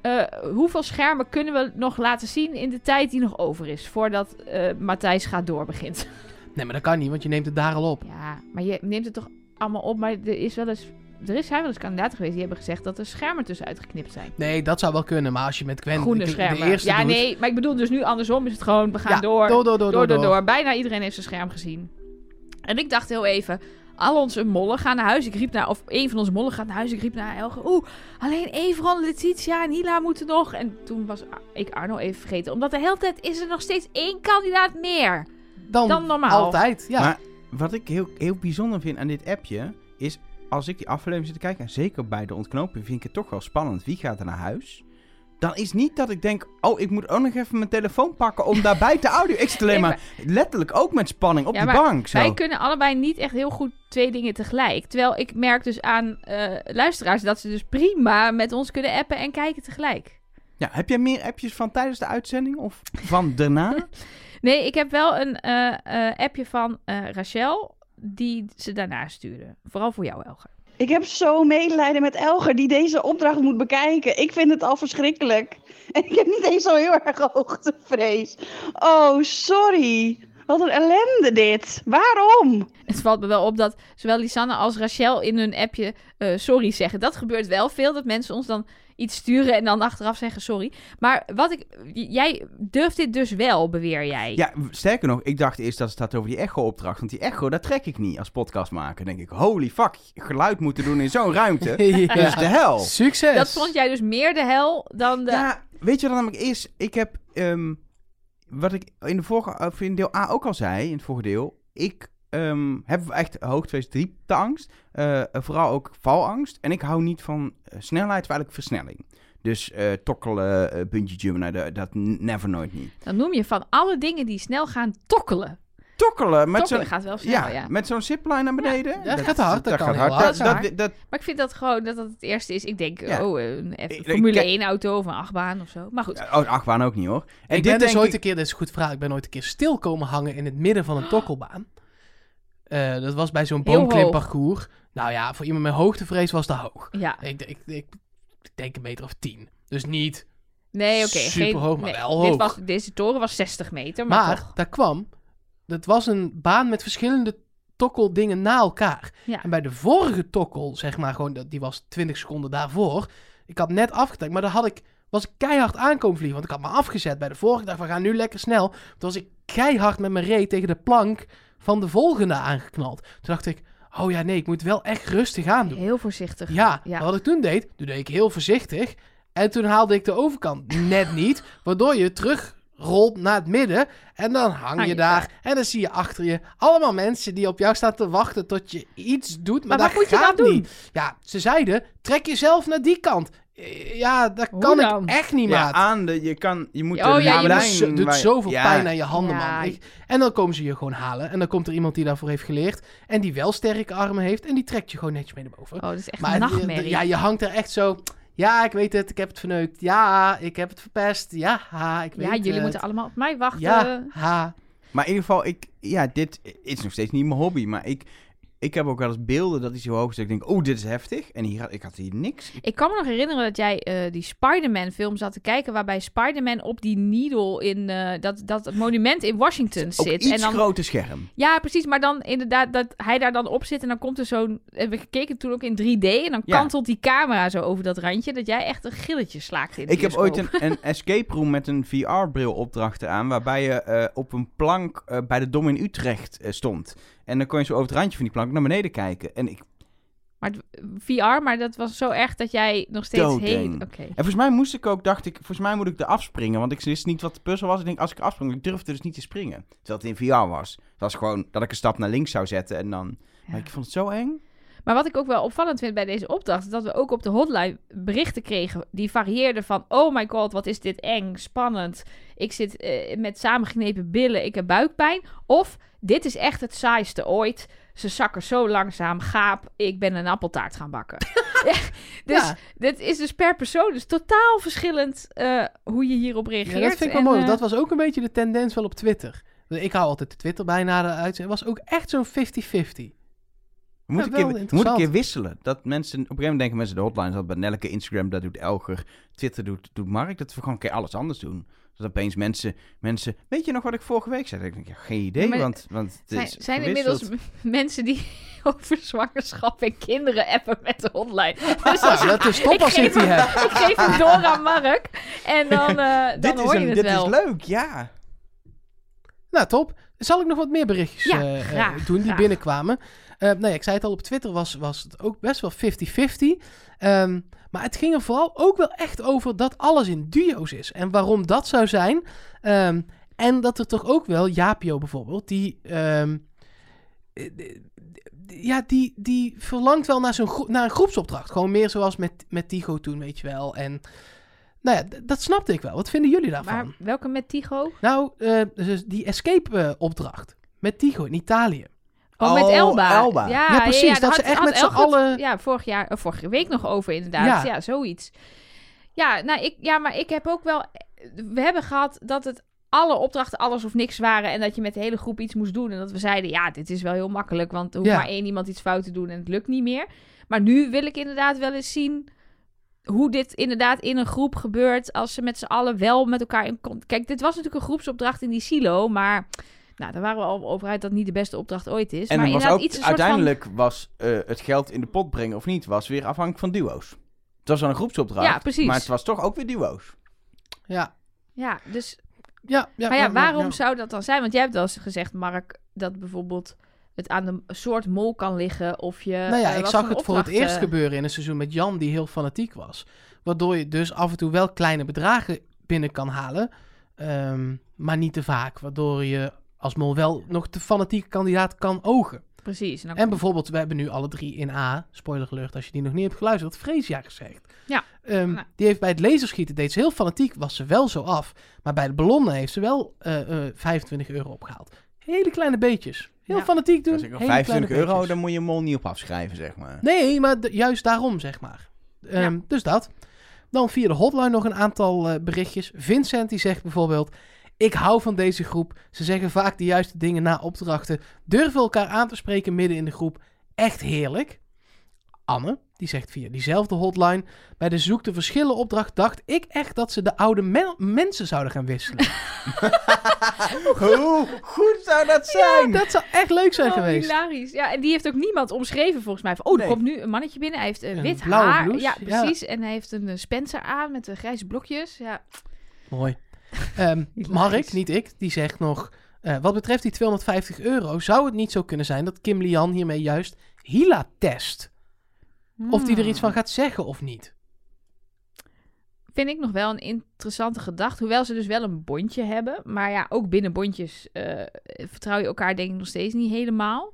[SPEAKER 3] eh, hoeveel schermen kunnen we nog laten zien in de tijd die nog over is... voordat eh, Matthijs gaat doorbegint?
[SPEAKER 2] Nee, maar dat kan niet, want je neemt het daar al op.
[SPEAKER 3] Ja, maar je neemt het toch allemaal op... maar er, is wel eens, er is zijn wel eens kandidaten geweest die hebben gezegd... dat er schermen tussenuit geknipt zijn.
[SPEAKER 2] Nee, dat zou wel kunnen, maar als je met Gwen
[SPEAKER 3] Groene
[SPEAKER 2] de, de
[SPEAKER 3] schermen.
[SPEAKER 2] eerste
[SPEAKER 3] ja,
[SPEAKER 2] doet-
[SPEAKER 3] nee, maar ik bedoel dus nu andersom is het gewoon... we gaan
[SPEAKER 2] Ja, door,
[SPEAKER 3] door,
[SPEAKER 2] door, door,
[SPEAKER 3] door, door,
[SPEAKER 2] door.
[SPEAKER 3] door. Bijna iedereen heeft zijn scherm gezien. En ik dacht heel even, al onze mollen gaan naar huis. Ik riep naar, of één van onze mollen gaat naar huis. Ik riep naar Elge, oeh, alleen Everon, Letitia en Hila moeten nog. En toen was Ar- ik Arno even vergeten. Omdat de hele tijd is er nog steeds één kandidaat meer.
[SPEAKER 2] Dan,
[SPEAKER 3] Dan normaal.
[SPEAKER 2] Altijd, ja.
[SPEAKER 1] Maar wat ik heel, heel bijzonder vind aan dit appje, is als ik die aflevering zit te kijken, en zeker bij de ontknoping, vind ik het toch wel spannend. Wie gaat er naar huis? Dan is niet dat ik denk, oh, ik moet ook nog even mijn telefoon pakken om daarbij te audio. Ik zit alleen
[SPEAKER 3] Nee,
[SPEAKER 1] maar letterlijk ook met spanning op
[SPEAKER 3] Ja,
[SPEAKER 1] die
[SPEAKER 3] maar
[SPEAKER 1] bank. Zo.
[SPEAKER 3] Wij kunnen allebei niet echt heel goed twee dingen tegelijk. Terwijl ik merk dus aan eh, luisteraars dat ze dus prima met ons kunnen appen en kijken tegelijk.
[SPEAKER 1] Ja, heb jij meer appjes van tijdens de uitzending of van daarna?
[SPEAKER 3] Nee, ik heb wel een eh, eh, appje van eh, Rachel die ze daarna stuurde. Vooral voor jou, Elger.
[SPEAKER 5] Ik heb zo medelijden met Elger die deze opdracht moet bekijken. Ik vind het al verschrikkelijk. En ik heb niet eens zo heel erg hoogtevrees. Oh, sorry. Wat een ellende dit. Waarom?
[SPEAKER 3] Het valt me wel op dat zowel Lisanne als Rachel in hun appje eh, sorry zeggen. Dat gebeurt wel veel, dat mensen ons dan iets sturen en dan achteraf zeggen sorry. Maar wat ik... j- Jij durft dit dus wel, beweer jij.
[SPEAKER 1] Ja, sterker nog, ik dacht eerst dat het staat over die echo-opdracht. Want die echo, dat trek ik niet als podcastmaker. Dan denk ik, holy fuck, geluid moeten doen in zo'n ruimte.
[SPEAKER 2] Ja.
[SPEAKER 1] Dat is dus de hel.
[SPEAKER 2] Succes!
[SPEAKER 3] Dat vond jij dus meer de hel dan de...
[SPEAKER 1] Ja, weet je wat namelijk is? Ik heb, ehm, wat ik in, de vorige, of in deel A ook al zei, in het vorige deel, ik ehm, heb echt hoogtevrees, diepteangst, eh, vooral ook valangst. En ik hou niet van eh, snelheid, maar eigenlijk versnelling. Dus eh, tokkelen, eh bungee jumpen, nou, dat- dat never nooit niet.
[SPEAKER 3] Dan noem je van alle dingen die snel gaan tokkelen.
[SPEAKER 1] Tokkelen met zo'n...
[SPEAKER 3] Tokkelen gaat wel snel,
[SPEAKER 1] Ja,
[SPEAKER 3] ja.
[SPEAKER 1] met zo'n zipline naar beneden.
[SPEAKER 2] dat gaat hard, dat kan heel hard.
[SPEAKER 1] Dat, dat, dat,
[SPEAKER 3] Maar ik vind dat gewoon dat dat het eerste is. Ik denk,
[SPEAKER 1] Ja.
[SPEAKER 3] oh, een F-
[SPEAKER 1] Ik- ik
[SPEAKER 3] Formule
[SPEAKER 1] ken-
[SPEAKER 3] 1 auto of een achtbaan of zo. Maar goed.
[SPEAKER 1] oh, de achtbaan ook niet hoor. En
[SPEAKER 2] ik ben dus
[SPEAKER 1] denk
[SPEAKER 2] ooit
[SPEAKER 1] ik-
[SPEAKER 2] een keer, dit is een goed vraag, ik ben ooit een keer stil komen hangen in het midden van een tokkelbaan. Eh, dat was bij zo'n
[SPEAKER 3] Heel hoog.
[SPEAKER 2] boomklimparcours. Nou ja, voor iemand met hoogtevrees was dat hoog.
[SPEAKER 3] Ja,
[SPEAKER 2] Ik, ik, ik, ik denk een meter of tien. Dus niet.
[SPEAKER 3] nee, oké. geen-
[SPEAKER 2] Superhoog, maar
[SPEAKER 3] nee,
[SPEAKER 2] wel
[SPEAKER 3] dit
[SPEAKER 2] hoog.
[SPEAKER 3] was- deze toren was 60 meter, maar,
[SPEAKER 2] Maar
[SPEAKER 3] toch.
[SPEAKER 2] daar kwam, dat was een baan met verschillende tokkeldingen na elkaar.
[SPEAKER 3] Ja.
[SPEAKER 2] En bij de vorige tokkel, zeg maar, gewoon, dat- die was 20 seconden daarvoor. Ik had net afgetrekt, maar daar had ik, was ik keihard aankomen vliegen. Want ik had me afgezet bij de vorige. Ik dacht, we gaan nu lekker snel. Toen was ik keihard met mijn reet tegen de plank van de volgende aangeknald. Toen dacht ik, oh ja, nee, ik moet wel echt rustig aan doen.
[SPEAKER 3] Heel voorzichtig.
[SPEAKER 2] Ja,
[SPEAKER 3] Ja.
[SPEAKER 2] maar wat ik toen deed, toen deed ik heel voorzichtig. En toen haalde ik de overkant net niet, waardoor je terug rolt naar het midden. En dan hang, je,
[SPEAKER 3] je
[SPEAKER 2] daar. En dan zie je achter je allemaal mensen die op jou staan te wachten tot je iets doet. Maar,
[SPEAKER 3] Maar
[SPEAKER 2] dat
[SPEAKER 3] wat moet je
[SPEAKER 2] gaat
[SPEAKER 3] dan doen?
[SPEAKER 2] niet. Ja, ze zeiden, trek jezelf naar die kant. Eh, Ja, dat
[SPEAKER 3] Hoe
[SPEAKER 2] kan
[SPEAKER 3] dan?
[SPEAKER 2] ik echt niet,
[SPEAKER 1] Ja,
[SPEAKER 2] maat.
[SPEAKER 1] aan de, je kan, je moet
[SPEAKER 3] Oh,
[SPEAKER 1] de
[SPEAKER 3] ja, je
[SPEAKER 2] Het
[SPEAKER 1] lijn...
[SPEAKER 2] doet zo- doet
[SPEAKER 1] waar-
[SPEAKER 2] zoveel
[SPEAKER 1] Ja.
[SPEAKER 2] pijn aan je handen,
[SPEAKER 3] Ja.
[SPEAKER 2] man. Ik- en dan komen ze je gewoon halen. En dan komt er iemand die daarvoor heeft geleerd. En die wel sterke armen heeft. En die trekt je gewoon netjes mee naar boven.
[SPEAKER 3] Oh, dat is echt
[SPEAKER 2] Maar
[SPEAKER 3] een
[SPEAKER 2] het-
[SPEAKER 3] nachtmerrie.
[SPEAKER 2] ja, je hangt er echt zo. Ja, ik weet het. Ik heb het verneukt. Ja, ik heb het verpest. Ja, ha, ik weet
[SPEAKER 3] Ja,
[SPEAKER 2] het.
[SPEAKER 3] jullie moeten allemaal op mij wachten.
[SPEAKER 2] Ja, ha.
[SPEAKER 1] Maar in ieder geval, ik, ja, dit is nog steeds niet mijn hobby. Maar ik, Ik heb ook wel eens beelden dat hij zo hoog is. Dat ik denk, oh, dit is heftig. En hier, had- ik had hier niks.
[SPEAKER 3] Ik kan me nog herinneren dat jij eh, die Spider-Man-film zat te kijken. Waarbij Spider-Man op die needle in eh, dat, dat het monument in Washington
[SPEAKER 1] Op
[SPEAKER 3] zit.
[SPEAKER 1] iets
[SPEAKER 3] en dan,
[SPEAKER 1] groter scherm.
[SPEAKER 3] Ja, precies. Maar dan inderdaad dat hij daar dan op zit. En dan komt er zo'n. Hebben we gekeken toen ook in 3D. En dan
[SPEAKER 1] Ja.
[SPEAKER 3] kantelt die camera zo over dat randje. Dat jij echt een gilletje slaakt in de
[SPEAKER 1] Ik heb
[SPEAKER 3] bioscoop.
[SPEAKER 1] ooit een, een escape room met een VR-bril opdracht aan, waarbij je eh, op een plank eh, bij de Dom in Utrecht eh, stond. En dan kon je zo over het randje van die plank naar beneden kijken. En, ik, en
[SPEAKER 3] Maar het- VR, maar dat was zo erg dat jij nog steeds
[SPEAKER 1] Doodeng.
[SPEAKER 3] heen. Oké.
[SPEAKER 1] volgens mij moest ik ook, dacht ik, volgens mij moet ik er afspringen, want ik wist niet wat de puzzel was. Ik denk, als ik afsprong, ik durfde dus niet te springen, terwijl het in VR was. Dat was gewoon dat ik een stap naar links zou zetten en dan...
[SPEAKER 3] Ja.
[SPEAKER 1] Maar ik vond het zo eng.
[SPEAKER 3] Maar wat ik ook wel opvallend vind bij deze opdracht, is dat we ook op de hotline berichten kregen die varieerden van: oh my god, wat is dit eng, spannend. Ik zit eh, met samengeknepen billen, ik heb buikpijn. Of dit is echt het saaiste ooit. Ze zakken zo langzaam, gaap, ik ben een appeltaart gaan bakken. Ja, dus
[SPEAKER 2] Ja.
[SPEAKER 3] dit is dus per persoon dus totaal verschillend eh, hoe je hierop reageert.
[SPEAKER 2] Ja, dat vind ik wel
[SPEAKER 3] En,
[SPEAKER 2] mooi. want
[SPEAKER 3] eh,
[SPEAKER 2] dat was ook een beetje de tendens wel op Twitter. Ik hou altijd de Twitter bijna uit. Het was ook echt zo'n 50-50.
[SPEAKER 1] Moet,
[SPEAKER 2] Ja,
[SPEAKER 1] ik
[SPEAKER 2] wel
[SPEAKER 1] een keer, moet ik een
[SPEAKER 2] interessant.
[SPEAKER 1] keer wisselen. Dat mensen, op een gegeven moment denken mensen de hotline dat bij Nelke, Instagram, dat doet Elger, Twitter doet, doet Mark. Dat we gewoon een keer alles anders doen. Dat opeens mensen, mensen, weet je nog wat ik vorige week zei? Dat Ik denk, ja, geen idee,
[SPEAKER 3] Maar
[SPEAKER 1] want, want het
[SPEAKER 3] Zijn,
[SPEAKER 1] is
[SPEAKER 3] zijn
[SPEAKER 1] gewisseld.
[SPEAKER 3] inmiddels m- mensen die over zwangerschap en kinderen appen met de hotline. Dus
[SPEAKER 1] Ah,
[SPEAKER 3] als
[SPEAKER 2] dat is top
[SPEAKER 3] ik
[SPEAKER 2] als ik
[SPEAKER 3] geef
[SPEAKER 2] die
[SPEAKER 3] hem-
[SPEAKER 2] heb.
[SPEAKER 3] ik geef hem door aan Mark. En dan, eh, dan
[SPEAKER 1] Dit,
[SPEAKER 3] hoor
[SPEAKER 1] is, een,
[SPEAKER 3] je het
[SPEAKER 1] dit
[SPEAKER 3] wel.
[SPEAKER 1] is leuk, ja.
[SPEAKER 2] Nou, top. Zal ik nog wat meer berichtjes
[SPEAKER 3] Ja,
[SPEAKER 2] eh, eh,
[SPEAKER 3] graag,
[SPEAKER 2] doen die
[SPEAKER 3] graag.
[SPEAKER 2] binnenkwamen? Eh nee, ik zei het al, op Twitter was, was het ook best wel 50-50. Ehm, maar het ging er vooral ook wel echt over dat alles in duo's is. En waarom dat zou zijn. Ehm, en dat er toch ook wel, Japio bijvoorbeeld, die... ehm, eh, d- d- ja, die, die verlangt wel naar, zo'n gro- naar een groepsopdracht. Gewoon meer zoals met, met Tigo toen, weet je wel. En nou ja, d- dat snapte ik wel. Wat vinden jullie daarvan?
[SPEAKER 3] Maar welke met Tigo?
[SPEAKER 2] Nou, eh, dus die escape-opdracht met Tigo in Italië.
[SPEAKER 3] Oh,
[SPEAKER 1] Oh,
[SPEAKER 3] met Elba.
[SPEAKER 1] Elba.
[SPEAKER 3] Ja,
[SPEAKER 2] Ja, precies,
[SPEAKER 3] daar
[SPEAKER 2] dat ze echt met z'n
[SPEAKER 3] Elger het-
[SPEAKER 2] allen-
[SPEAKER 3] Ja, vorig jaar, eh, vorige week nog over inderdaad. Ja,
[SPEAKER 2] Ja.
[SPEAKER 3] zoiets. Ja, nou, ik, ja, maar ik heb ook wel... eh, We hebben gehad dat het alle opdrachten alles of niks waren... en dat je met de hele groep iets moest doen. En dat we zeiden, ja, dit is wel heel makkelijk... want er hoeft
[SPEAKER 2] Ja.
[SPEAKER 3] maar één iemand iets fout te doen en het lukt niet meer. Maar nu wil ik inderdaad wel eens zien... hoe dit inderdaad in een groep gebeurt... als ze met z'n allen wel met elkaar in... con- Kijk, dit was natuurlijk een groepsopdracht in die silo, maar... Nou, daar waren we al over uit dat het niet de beste opdracht ooit is.
[SPEAKER 1] En
[SPEAKER 3] maar
[SPEAKER 1] dan was
[SPEAKER 3] inderdaad
[SPEAKER 1] ook,
[SPEAKER 3] iets een soort van...
[SPEAKER 1] uiteindelijk was eh, het geld in de pot brengen of niet, was weer afhankelijk van duo's. Het was wel een groepsopdracht,
[SPEAKER 3] Ja, precies.
[SPEAKER 1] maar het was toch ook weer duo's.
[SPEAKER 2] Ja,
[SPEAKER 3] Ja, dus,
[SPEAKER 2] ja, ja.
[SPEAKER 3] maar ja, waarom zou dat dan zijn? Want jij hebt wel eens gezegd, Mark, dat bijvoorbeeld het aan een soort mol kan liggen of je...
[SPEAKER 2] Nou ja,
[SPEAKER 3] eh,
[SPEAKER 2] ik
[SPEAKER 3] wat
[SPEAKER 2] zag
[SPEAKER 3] voor
[SPEAKER 2] het voor het
[SPEAKER 3] opdrachten-
[SPEAKER 2] eerst gebeuren in een seizoen met Jan, die heel fanatiek was. Waardoor je dus af en toe wel kleine bedragen binnen kan halen, ehm, maar niet te vaak. Waardoor je als mol wel nog de fanatieke kandidaat kan ogen.
[SPEAKER 3] Precies. En dan
[SPEAKER 2] En bijvoorbeeld, we hebben nu alle drie in A, spoiler alert als je die nog niet hebt geluisterd, wat Freesia gezegd.
[SPEAKER 3] Ja.
[SPEAKER 2] Ehm,
[SPEAKER 3] Nou.
[SPEAKER 2] Die heeft bij het laserschieten, deed ze heel fanatiek, was ze wel zo af. Maar bij de ballonnen heeft ze wel eh, eh, 25 euro opgehaald. Hele kleine beetjes. Heel
[SPEAKER 3] Ja.
[SPEAKER 2] fanatiek doen.
[SPEAKER 1] Dat is ook wel
[SPEAKER 2] hele kleine
[SPEAKER 1] 25 euro,
[SPEAKER 2] beetjes.
[SPEAKER 1] dan moet je mol niet op afschrijven, zeg maar.
[SPEAKER 2] Nee, maar d- juist daarom, zeg maar. Ehm, Dus dat. Dan via de hotline nog een aantal eh, berichtjes. Vincent die zegt bijvoorbeeld... Ik hou van deze groep. Ze zeggen vaak de juiste dingen na opdrachten. Durven elkaar aan te spreken midden in de groep. Echt heerlijk. Anne, die zegt via diezelfde hotline... Bij de zoek de verschillen opdracht dacht ik echt dat ze de oude men- mensen zouden gaan wisselen.
[SPEAKER 1] Hoe goed zou dat zijn?
[SPEAKER 2] dat zou echt leuk zijn
[SPEAKER 3] Oh,
[SPEAKER 2] geweest.
[SPEAKER 3] hilarisch. Ja, en die heeft ook niemand omschreven volgens mij. Van, oh, er
[SPEAKER 1] Nee.
[SPEAKER 3] komt nu een mannetje binnen. Hij heeft eh,
[SPEAKER 2] Een
[SPEAKER 3] wit
[SPEAKER 2] blauwe
[SPEAKER 3] haar.
[SPEAKER 2] blouse,
[SPEAKER 3] Ja,
[SPEAKER 2] ja.
[SPEAKER 3] precies. En hij heeft een eh, Spencer aan met eh, grijze blokjes. Ja.
[SPEAKER 2] Mooi. Ehm, Mark, niet ik, die zegt nog... eh, wat betreft die 250 euro zou het niet zo kunnen zijn dat Kim Lian hiermee juist Hila test. Of die er
[SPEAKER 3] Hmm.
[SPEAKER 2] iets van gaat zeggen of niet.
[SPEAKER 3] Vind ik nog wel een interessante gedachte. Hoewel ze dus wel een bondje hebben. Maar ja, ook binnen bondjes eh, vertrouw je elkaar denk ik nog steeds niet helemaal.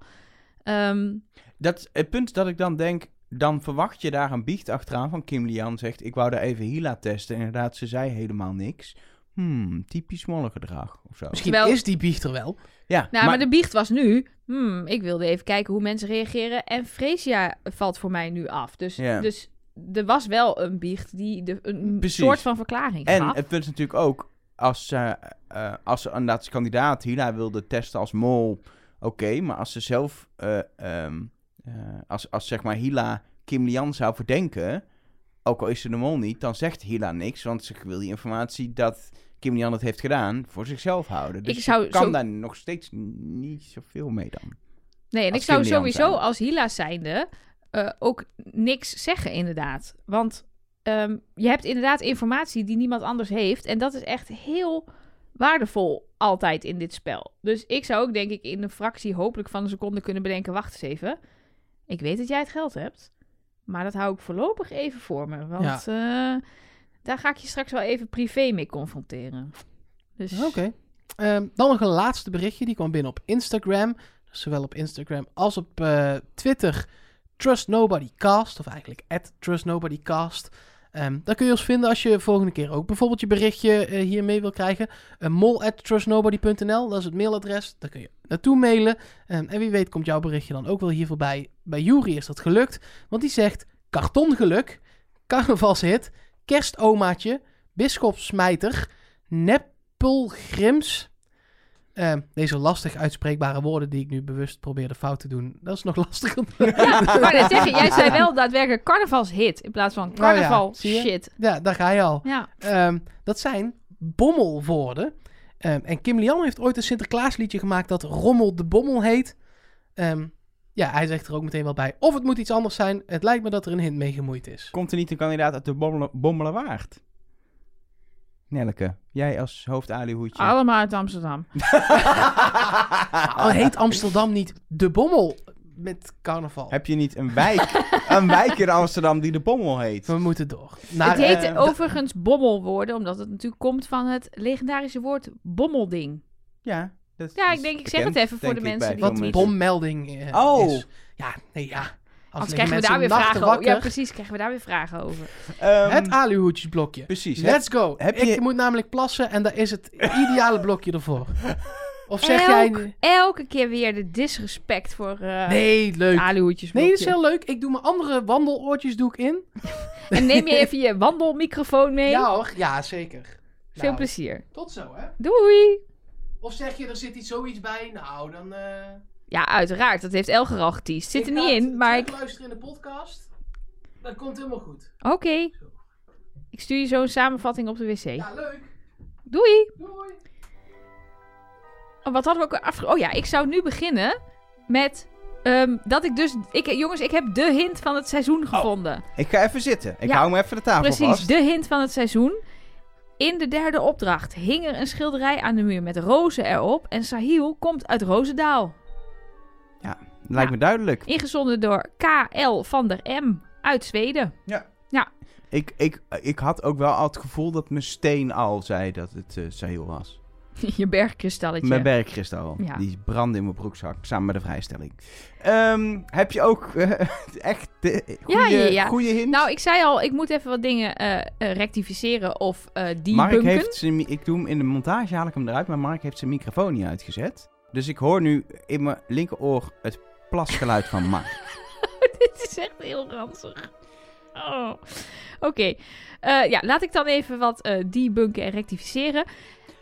[SPEAKER 3] Ehm,
[SPEAKER 1] Dat is het punt dat ik dan denk, dan verwacht je daar een biecht achteraan van Kim Lian zegt, ik wou daar even Hila testen. Inderdaad, ze zei helemaal niks. Hmm, typisch mollengedrag of zo.
[SPEAKER 2] Misschien
[SPEAKER 3] Terwijl-
[SPEAKER 2] is die biecht er wel.
[SPEAKER 1] Ja,
[SPEAKER 3] Nou, maar, de biecht was nu. Hmm, ik wilde even kijken hoe mensen reageren. En Freesia valt voor mij nu af. Dus,
[SPEAKER 1] Ja.
[SPEAKER 3] dus er was wel een biecht die de, een
[SPEAKER 1] Precies.
[SPEAKER 3] soort van verklaring
[SPEAKER 1] En
[SPEAKER 3] gaf.
[SPEAKER 1] het punt is natuurlijk ook, als ze, eh, als ze inderdaad als kandidaat Hila wilde testen als mol, oké, maar als ze zelf eh, ehm, eh, als, als zeg maar Hila Kim Lian zou verdenken, ook al is ze de mol niet, dan zegt Hila niks, want ze wil die informatie dat Kim Lian het heeft gedaan voor zichzelf houden. Dus
[SPEAKER 3] Ik zou
[SPEAKER 1] je kan
[SPEAKER 3] zo-
[SPEAKER 1] daar nog steeds niet zoveel mee dan.
[SPEAKER 3] Nee, en
[SPEAKER 1] Als
[SPEAKER 3] ik zou
[SPEAKER 1] Kim Lian
[SPEAKER 3] sowieso
[SPEAKER 1] zijn.
[SPEAKER 3] als Hila zijnde eh, ook niks zeggen, inderdaad. Want ehm, je hebt inderdaad informatie die niemand anders heeft. En dat is echt heel waardevol altijd in dit spel. Dus ik zou ook, denk ik, in een fractie hopelijk van een seconde kunnen bedenken... wacht eens even, ik weet dat jij het geld hebt. Maar dat hou ik voorlopig even voor me. Want eh, daar ga ik je straks wel even privé mee confronteren. Dus...
[SPEAKER 2] Oké. Ehm, dan nog een laatste berichtje. Die kwam binnen op Instagram. Dus Zowel op Instagram als op eh, Twitter. Trust Nobody Cast. Of eigenlijk at Trust Nobody Cast. Ehm, daar kun je ons vinden als je volgende keer ook bijvoorbeeld je berichtje eh, hiermee wil krijgen. Eh, mol at trustnobody.nl. Dat is het mailadres. Daar kun je naartoe mailen. Ehm, en wie weet komt jouw berichtje dan ook wel hier voorbij. Bij Jury is dat gelukt. Want die zegt kartongeluk, carnavalshit, kerstomaatje, bisschopsmijter, nep Pulgrims. Ehm, deze lastig uitspreekbare woorden die ik nu bewust probeerde fout te doen, dat is nog lastiger.
[SPEAKER 3] Ja, maar net zeggen, jij zei wel daadwerkelijk carnavalshit in plaats van carnaval
[SPEAKER 2] Nou zie je?
[SPEAKER 3] shit.
[SPEAKER 2] ja, daar ga je al.
[SPEAKER 3] Ja.
[SPEAKER 2] Ehm, dat zijn bommelwoorden. Ehm, en Kim Lian heeft ooit een Sinterklaasliedje gemaakt dat Rommel de Bommel heet. Ehm, ja, hij zegt er ook meteen wel bij. Of het moet iets anders zijn. Het lijkt me dat er een hint mee gemoeid is.
[SPEAKER 1] Komt er niet een kandidaat uit de Bommel- Bommelerwaard? Nelke, jij als hoofd Alihoedje.
[SPEAKER 3] Allemaal uit Amsterdam. Ah,
[SPEAKER 1] Oh,
[SPEAKER 2] Al heet Amsterdam niet de Bommel met carnaval.
[SPEAKER 1] Oh. Heb je niet een wijk, een wijk in Amsterdam die de Bommel heet?
[SPEAKER 2] We moeten door. Naar,
[SPEAKER 3] het heet
[SPEAKER 2] eh,
[SPEAKER 3] overigens bommelwoorden, omdat het natuurlijk komt van het legendarische woord bommelding.
[SPEAKER 1] Ja, dat
[SPEAKER 3] Ja,
[SPEAKER 1] is
[SPEAKER 3] ik denk- ik zeg
[SPEAKER 1] bekend,
[SPEAKER 3] het even voor
[SPEAKER 1] denk
[SPEAKER 3] de
[SPEAKER 1] ik,
[SPEAKER 3] mensen
[SPEAKER 1] bij
[SPEAKER 3] die
[SPEAKER 1] veel
[SPEAKER 2] Wat
[SPEAKER 3] Jongens.
[SPEAKER 2] bommelding eh,
[SPEAKER 1] Oh.
[SPEAKER 2] is. Ja, nee, ja. Als
[SPEAKER 3] Anders krijgen we daar weer vragen over. Ja, precies, krijgen we daar weer vragen over.
[SPEAKER 1] Ehm,
[SPEAKER 2] het aluhoedjesblokje.
[SPEAKER 1] Precies. hè?
[SPEAKER 2] Let's go.
[SPEAKER 1] heb
[SPEAKER 2] Ik
[SPEAKER 1] je-
[SPEAKER 2] moet namelijk plassen en daar is het ideale blokje ervoor. Of zeg
[SPEAKER 3] Elk-
[SPEAKER 2] jij...
[SPEAKER 3] Elke keer weer de disrespect voor eh nee,
[SPEAKER 2] Nee, leuk.
[SPEAKER 3] aluhoedjes.
[SPEAKER 2] Nee, dat is heel leuk. Ik doe mijn andere wandeloortjes doe ik in.
[SPEAKER 3] En neem je even je wandelmicrofoon mee.
[SPEAKER 2] Ja hoor, ja zeker.
[SPEAKER 3] Veel
[SPEAKER 2] Nou,
[SPEAKER 3] plezier.
[SPEAKER 2] Tot zo hè.
[SPEAKER 3] Doei!
[SPEAKER 2] Of zeg je, er zit iets zoiets bij. Nou, dan... eh,
[SPEAKER 3] Ja, uiteraard. Dat heeft Elger al geteased. Zit er
[SPEAKER 2] ik
[SPEAKER 3] niet
[SPEAKER 2] ga
[SPEAKER 3] in,
[SPEAKER 2] het
[SPEAKER 3] maar ik...
[SPEAKER 2] terugluisteren in de podcast. Dat komt helemaal goed.
[SPEAKER 3] Oké. Ik stuur je zo een samenvatting op de wc.
[SPEAKER 2] Ja, leuk.
[SPEAKER 3] Doei!
[SPEAKER 2] Doei.
[SPEAKER 3] Oh, Wat hadden we ook afge... Oh ja, ik zou nu beginnen met ehm, dat ik dus... Ik, jongens, ik heb de hint van het
[SPEAKER 1] Oh,
[SPEAKER 3] seizoen gevonden.
[SPEAKER 1] Ik ga even zitten. Ik
[SPEAKER 3] Ja,
[SPEAKER 1] hou me even de tafel
[SPEAKER 3] Precies,
[SPEAKER 1] vast.
[SPEAKER 3] de hint van het seizoen. In de derde opdracht hing er een schilderij aan de muur met rozen erop. En Sahil komt uit Rozendaal.
[SPEAKER 1] Lijkt me duidelijk.
[SPEAKER 3] Ingezonden door K.L. van der M. uit Zweden.
[SPEAKER 1] Ik, ik, ik had ook wel al het gevoel dat mijn steen al zei dat het eh Sahil was.
[SPEAKER 3] Je bergkristalletje.
[SPEAKER 1] Mijn bergkristal.
[SPEAKER 3] Ja.
[SPEAKER 1] Die brandde in mijn broekzak samen met de vrijstelling. Ehm, heb je ook eh, echt de goede,
[SPEAKER 3] Ja, ja, ja.
[SPEAKER 1] goede hint?
[SPEAKER 3] nou, ik zei al, ik moet even wat dingen eh, eh, rectificeren of eh debunken.
[SPEAKER 1] Mark heeft zijn, mi- ik doe hem in de montage, haal ik hem eruit, maar Mark heeft zijn microfoon niet uitgezet. Dus ik hoor nu in mijn linkeroor het plasgeluid van Mark.
[SPEAKER 3] Dit is echt heel ranzig. Oh. Oké. Eh, ja, laat ik dan even wat eh debunken en rectificeren.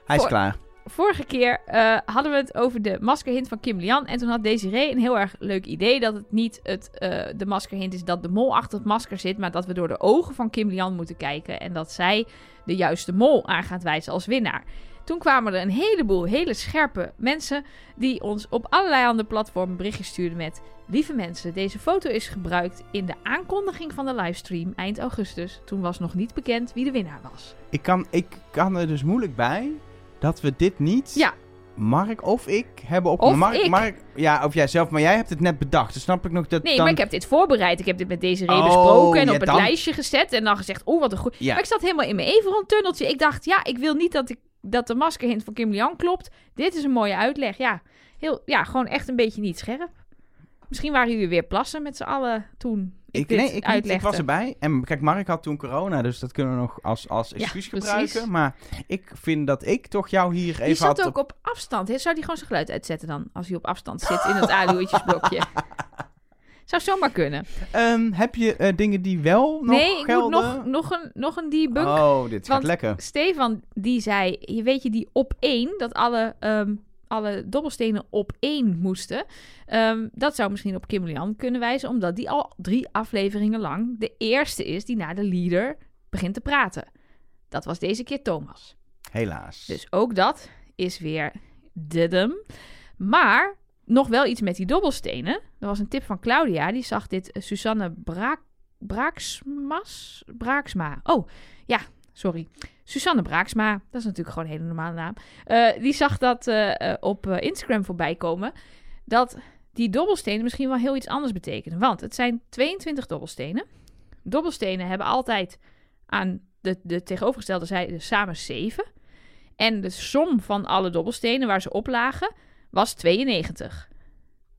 [SPEAKER 1] Hij is
[SPEAKER 3] Voor-
[SPEAKER 1] klaar.
[SPEAKER 3] Vorige keer eh, hadden we het over de maskerhint van Kim Lian. En toen had Desiree een heel erg leuk idee dat het niet het, eh, de maskerhint is dat de mol achter het masker zit. Maar dat we door de ogen van Kim Lian moeten kijken. En dat zij de juiste mol aan gaat wijzen als winnaar. Toen kwamen er een heleboel hele scherpe mensen die ons op allerlei andere platformen berichtjes stuurden met... Lieve mensen, deze foto is gebruikt in de aankondiging van de livestream eind augustus. Toen was nog niet bekend wie de winnaar was.
[SPEAKER 1] Ik kan, ik kan er dus moeilijk bij dat we dit niet.
[SPEAKER 3] Ja.
[SPEAKER 1] Mark of ik hebben op.
[SPEAKER 3] Of
[SPEAKER 1] Mark,
[SPEAKER 3] ik.
[SPEAKER 1] Mark, ja, of jij zelf, maar jij hebt het net bedacht. Dus snap ik nog dat.
[SPEAKER 3] Nee,
[SPEAKER 1] dan,
[SPEAKER 3] maar ik heb dit voorbereid. Ik heb dit met deze reden
[SPEAKER 1] Oh,
[SPEAKER 3] besproken en
[SPEAKER 1] ja,
[SPEAKER 3] op het
[SPEAKER 1] dan-
[SPEAKER 3] lijstje gezet. En dan gezegd, oh wat een goed...
[SPEAKER 1] Ja.
[SPEAKER 3] Maar ik zat helemaal in mijn Everon-tunneltje. Ik dacht, ja, ik wil niet dat, ik, dat de maskerhint van Kim Lian klopt. Dit is een mooie uitleg. Ja, heel, ja, gewoon echt een beetje niet scherp. Misschien waren jullie weer plassen met z'n allen toen ik,
[SPEAKER 1] Ik,
[SPEAKER 3] dit
[SPEAKER 1] nee, ik, niet, ik
[SPEAKER 3] uitlegde.
[SPEAKER 1] was erbij. En kijk, Mark had toen corona, dus dat kunnen we nog als, als excuus
[SPEAKER 3] precies.
[SPEAKER 1] gebruiken. Maar ik vind dat ik toch jou hier even
[SPEAKER 3] Die
[SPEAKER 1] had
[SPEAKER 3] zat ook op afstand. Zou die gewoon zijn geluid uitzetten dan? Als hij op afstand zit in het aluhoedjesblokje. Zou zomaar kunnen.
[SPEAKER 1] Ehm, heb je eh, dingen die wel nog
[SPEAKER 3] nee, ik moet
[SPEAKER 1] gelden?
[SPEAKER 3] nog, nog een, nog een debunk
[SPEAKER 1] Oh, dit gaat
[SPEAKER 3] Want-
[SPEAKER 1] lekker.
[SPEAKER 3] Stefan die zei, je weet je die op één, dat alle ehm, alle dobbelstenen op één moesten. Ehm, dat zou misschien op Kim Lian kunnen wijzen, omdat die al drie afleveringen lang de eerste is die na de leader begint te praten. Dat was deze keer Thomas.
[SPEAKER 1] Helaas.
[SPEAKER 3] Dus ook dat is weer didem. Maar nog wel iets met die dobbelstenen. Er was een tip van Claudia, die zag dit eh, Susanne Braak, Braaksmas? Braaksma. Oh, ja, sorry. Susanne Braaksma, dat is natuurlijk gewoon een hele normale naam. Eh, die zag dat eh, eh, op eh, Instagram voorbij komen. Dat die dobbelstenen misschien wel heel iets anders betekenen. Want het zijn 22 dobbelstenen. Dobbelstenen hebben altijd aan de, de tegenovergestelde zijde samen 7. En de som van alle dobbelstenen waar ze op lagen was 92.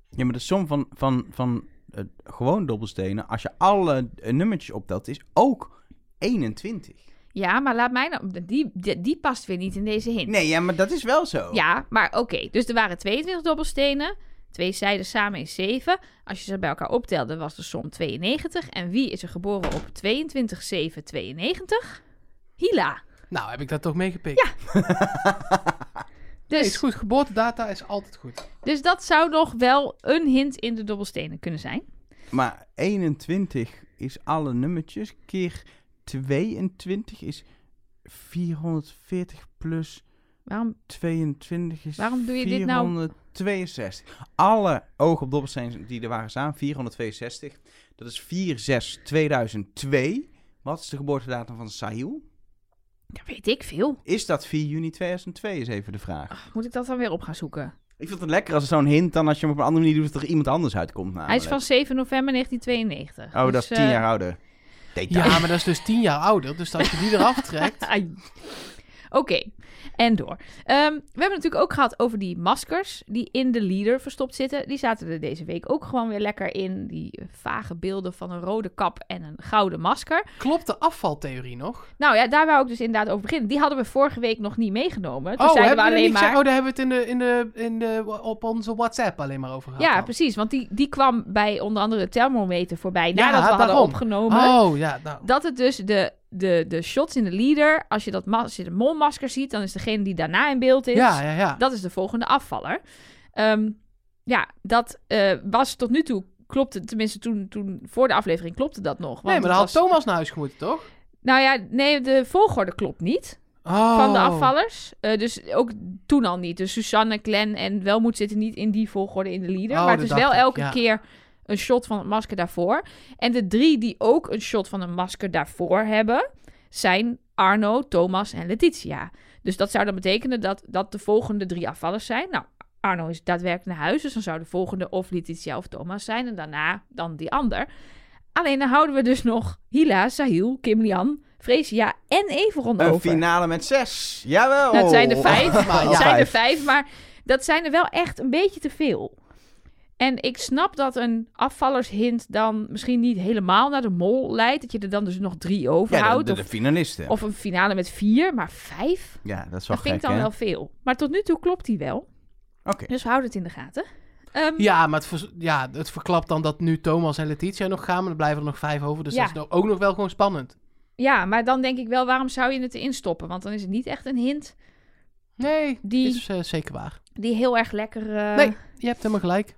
[SPEAKER 1] Ja, maar de som van, van, van eh, gewoon dobbelstenen, als je alle eh, nummertjes optelt, is ook 21.
[SPEAKER 3] Ja, maar laat mij nou. Die, die, die past weer niet in deze hint.
[SPEAKER 1] Nee, ja, maar dat is wel zo.
[SPEAKER 3] Ja, maar oké. Dus er waren 22 dobbelstenen. Twee zijden samen is 7. Als je ze bij elkaar optelde, was de som 92. En wie is er geboren op 22, 7, 92? Hila.
[SPEAKER 2] Nou, heb ik dat toch meegepikt. Ja, is
[SPEAKER 3] Dus,
[SPEAKER 2] goed. Geboortedata is altijd goed.
[SPEAKER 3] dus dat zou nog wel een hint in de dobbelstenen kunnen zijn.
[SPEAKER 1] Maar 21 is alle nummertjes, keer 22 is 440 plus
[SPEAKER 3] Waarom?
[SPEAKER 1] 22 is
[SPEAKER 3] Waarom doe je dit nou?
[SPEAKER 1] 462. Alle oog op dobbelstenen die er waren staan, 462. Dat is 4 2002 Wat is de geboortedatum van Sahil?
[SPEAKER 3] Dat weet ik veel.
[SPEAKER 1] Is dat 4 juni 2002 is even de vraag.
[SPEAKER 3] Ach, moet ik dat dan weer op gaan zoeken?
[SPEAKER 1] Ik vind het lekker als het zo'n hint dan als je hem op een andere manier doet dat er iemand anders uitkomt
[SPEAKER 3] Hij
[SPEAKER 1] namelijk.
[SPEAKER 3] is van 7 november 1992.
[SPEAKER 1] Oh, dat is
[SPEAKER 3] Dus,
[SPEAKER 1] 10
[SPEAKER 3] eh,
[SPEAKER 1] jaar ouder. Detail.
[SPEAKER 2] Ja, maar dat is dus tien jaar ouder. Dus als je die eraf trekt...
[SPEAKER 3] Ai. Oké, en door. Ehm, we hebben het natuurlijk ook gehad over die maskers die in de leader verstopt zitten. Die zaten er deze week ook gewoon weer lekker in. Die eh, vage beelden van een rode kap en een gouden masker.
[SPEAKER 2] Klopt de afvaltheorie nog?
[SPEAKER 3] Nou ja, daar wou ik dus inderdaad over beginnen. Die hadden we vorige week nog niet meegenomen. Toen
[SPEAKER 2] oh,
[SPEAKER 3] zeiden
[SPEAKER 2] hebben
[SPEAKER 3] we
[SPEAKER 2] we er
[SPEAKER 3] alleen
[SPEAKER 2] niet gezegd?
[SPEAKER 3] maar...
[SPEAKER 2] Oh, daar hebben we het in de, in de, in de, op onze WhatsApp alleen maar over gehad.
[SPEAKER 3] Ja,
[SPEAKER 2] dan.
[SPEAKER 3] precies. Want die, die kwam bij onder andere het thermometer voorbij.
[SPEAKER 2] Ja,
[SPEAKER 3] Nadat we hadden
[SPEAKER 2] daarom.
[SPEAKER 3] opgenomen.
[SPEAKER 2] Oh, ja. Nou,
[SPEAKER 3] Dat het dus de, de, de shots in de leader... Als je, dat, ma- als je de molmasker ziet, dan is degene die daarna in beeld is...
[SPEAKER 2] ja, ja, ja.
[SPEAKER 3] Dus Dat is de volgende afvaller. Ehm, ja, dat eh, was tot nu toe klopte, tenminste toen, toen voor de aflevering klopte dat nog. want
[SPEAKER 2] nee, maar dan
[SPEAKER 3] het
[SPEAKER 2] had
[SPEAKER 3] was-
[SPEAKER 2] Thomas naar huis gemoeten, toch?
[SPEAKER 3] Nou ja, nee, de volgorde klopt niet
[SPEAKER 2] Oh.
[SPEAKER 3] van de afvallers. Eh, dus ook toen al niet. Dus Susanne, Glenn en Welmoed zitten niet in die volgorde in de leader.
[SPEAKER 2] Oh,
[SPEAKER 3] maar het
[SPEAKER 2] dat
[SPEAKER 3] is
[SPEAKER 2] dacht
[SPEAKER 3] wel
[SPEAKER 2] ik,
[SPEAKER 3] elke
[SPEAKER 2] ja.
[SPEAKER 3] keer een shot van het masker daarvoor. En de drie die ook een shot van een masker daarvoor hebben, zijn Arno, Thomas en Letitia. Dus dat zou dan betekenen dat dat de volgende drie afvallers zijn. Nou, Arno is daadwerkelijk naar huis, dus dan zou de volgende of Letitia of Thomas zijn. En daarna dan die ander. Alleen dan houden we dus nog Hila, Sahil, Kim Lian, Freesia en Everon
[SPEAKER 1] Een
[SPEAKER 3] over.
[SPEAKER 1] finale met zes. Jawel.
[SPEAKER 3] Dat zijn er vijf.
[SPEAKER 2] Maar
[SPEAKER 3] Het
[SPEAKER 2] ja.
[SPEAKER 3] zijn er vijf, maar dat zijn er wel echt een beetje te veel. En ik snap dat een afvallershint dan misschien niet helemaal naar de mol leidt. Dat je er dan dus nog drie
[SPEAKER 1] Ja, de,
[SPEAKER 3] overhoudt.
[SPEAKER 1] de- de
[SPEAKER 3] of,
[SPEAKER 1] finalisten.
[SPEAKER 3] of een finale met vier, maar vijf?
[SPEAKER 1] ja, dat is wel
[SPEAKER 3] Dat vind
[SPEAKER 1] gek,
[SPEAKER 3] ik dan
[SPEAKER 1] hè?
[SPEAKER 3] wel veel. Maar tot nu toe klopt die wel.
[SPEAKER 1] Oké.
[SPEAKER 3] Dus houd het in de gaten. Ehm,
[SPEAKER 2] Ja, maar het, vers- ja, het verklapt dan dat nu Thomas en Letitia nog gaan, maar er blijven er nog vijf over. Dus
[SPEAKER 3] Ja.
[SPEAKER 2] dat is nou ook nog wel gewoon spannend.
[SPEAKER 3] ja, maar dan denk ik wel, waarom zou je het erin stoppen? Want dan is het niet echt een hint
[SPEAKER 2] Nee,
[SPEAKER 3] Die-
[SPEAKER 2] is eh, zeker waar.
[SPEAKER 3] die heel erg lekker... eh,
[SPEAKER 2] Nee. Je hebt helemaal gelijk.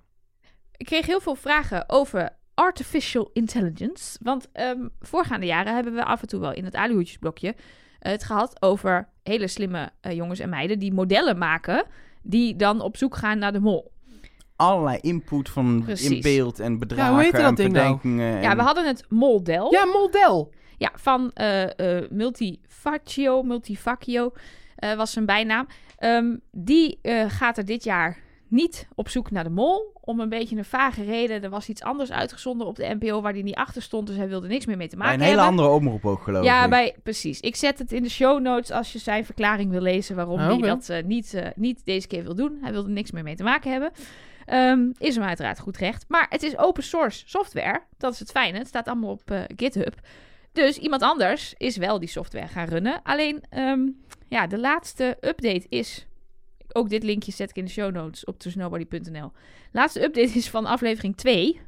[SPEAKER 3] Ik kreeg heel veel vragen over artificial intelligence. Want ehm, voorgaande jaren hebben we af en toe wel in het Alihoedjesblokje eh, het gehad over hele slimme eh, jongens en meiden die modellen maken. Die dan op zoek gaan naar de mol.
[SPEAKER 1] Allerlei input van
[SPEAKER 3] Precies.
[SPEAKER 1] in beeld en bedragen
[SPEAKER 2] Ja, hoe heette dat
[SPEAKER 1] en
[SPEAKER 2] ding nou?
[SPEAKER 1] bedenkingen. en-
[SPEAKER 3] Ja, we hadden het Moldel.
[SPEAKER 2] Ja, model.
[SPEAKER 3] Ja, van eh eh Multifaccio, Multifaccio eh, was zijn bijnaam. Ehm, die eh, gaat er dit jaar niet op zoek naar de mol. Om een beetje een vage reden. Er was iets anders uitgezonden op de NPO waar hij niet achter stond. Dus hij wilde niks meer mee te
[SPEAKER 1] bij
[SPEAKER 3] maken
[SPEAKER 1] een hele
[SPEAKER 3] hebben.
[SPEAKER 1] andere omroep ook, geloof ik.
[SPEAKER 3] Ja, bij, precies. Ik zet het in de show notes als je zijn verklaring wil lezen waarom
[SPEAKER 2] Ah,
[SPEAKER 3] hij
[SPEAKER 2] oké.
[SPEAKER 3] dat eh, niet, eh, niet deze keer wil doen. Hij wilde niks meer mee te maken hebben. Ehm, is hem uiteraard goed recht. Maar het is open source software. Dat is het fijne. Het staat allemaal op eh, GitHub. Dus iemand anders is wel die software gaan runnen. Alleen, ehm, ja, de laatste update is... Ook dit linkje zet ik in de show notes op tussenobody.nl. Laatste update is van aflevering 2.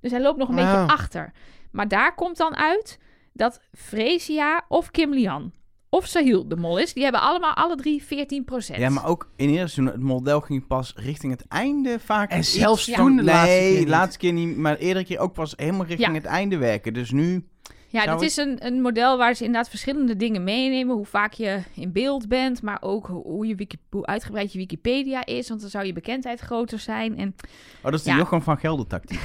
[SPEAKER 3] Dus hij loopt nog een
[SPEAKER 1] Ah.
[SPEAKER 2] Wauw.
[SPEAKER 3] beetje achter. Maar daar komt dan uit dat Freesia of Kim Lian of Sahil de mol is. Die hebben allemaal alle drie 14
[SPEAKER 1] Ja, maar ook in eerste seizoen, het model ging pas richting het einde vaak.
[SPEAKER 2] En
[SPEAKER 1] iets
[SPEAKER 2] zelfs
[SPEAKER 1] van-
[SPEAKER 2] toen de laatste
[SPEAKER 1] Nee,
[SPEAKER 2] keer niet.
[SPEAKER 1] laatste keer niet, maar eerdere keer ook pas helemaal richting
[SPEAKER 3] Ja.
[SPEAKER 1] het einde werken. Dus nu,
[SPEAKER 3] Ja,
[SPEAKER 1] Zou
[SPEAKER 3] dit
[SPEAKER 1] ik-
[SPEAKER 3] is een, een model waar ze inderdaad verschillende dingen meenemen. Hoe vaak je in beeld bent, maar ook ho- hoe, je wiki- hoe uitgebreid je Wikipedia is. Want dan zou je bekendheid groter zijn. En
[SPEAKER 1] oh, dat is de
[SPEAKER 3] Ja.
[SPEAKER 1] Jochem van Gelder tactiek.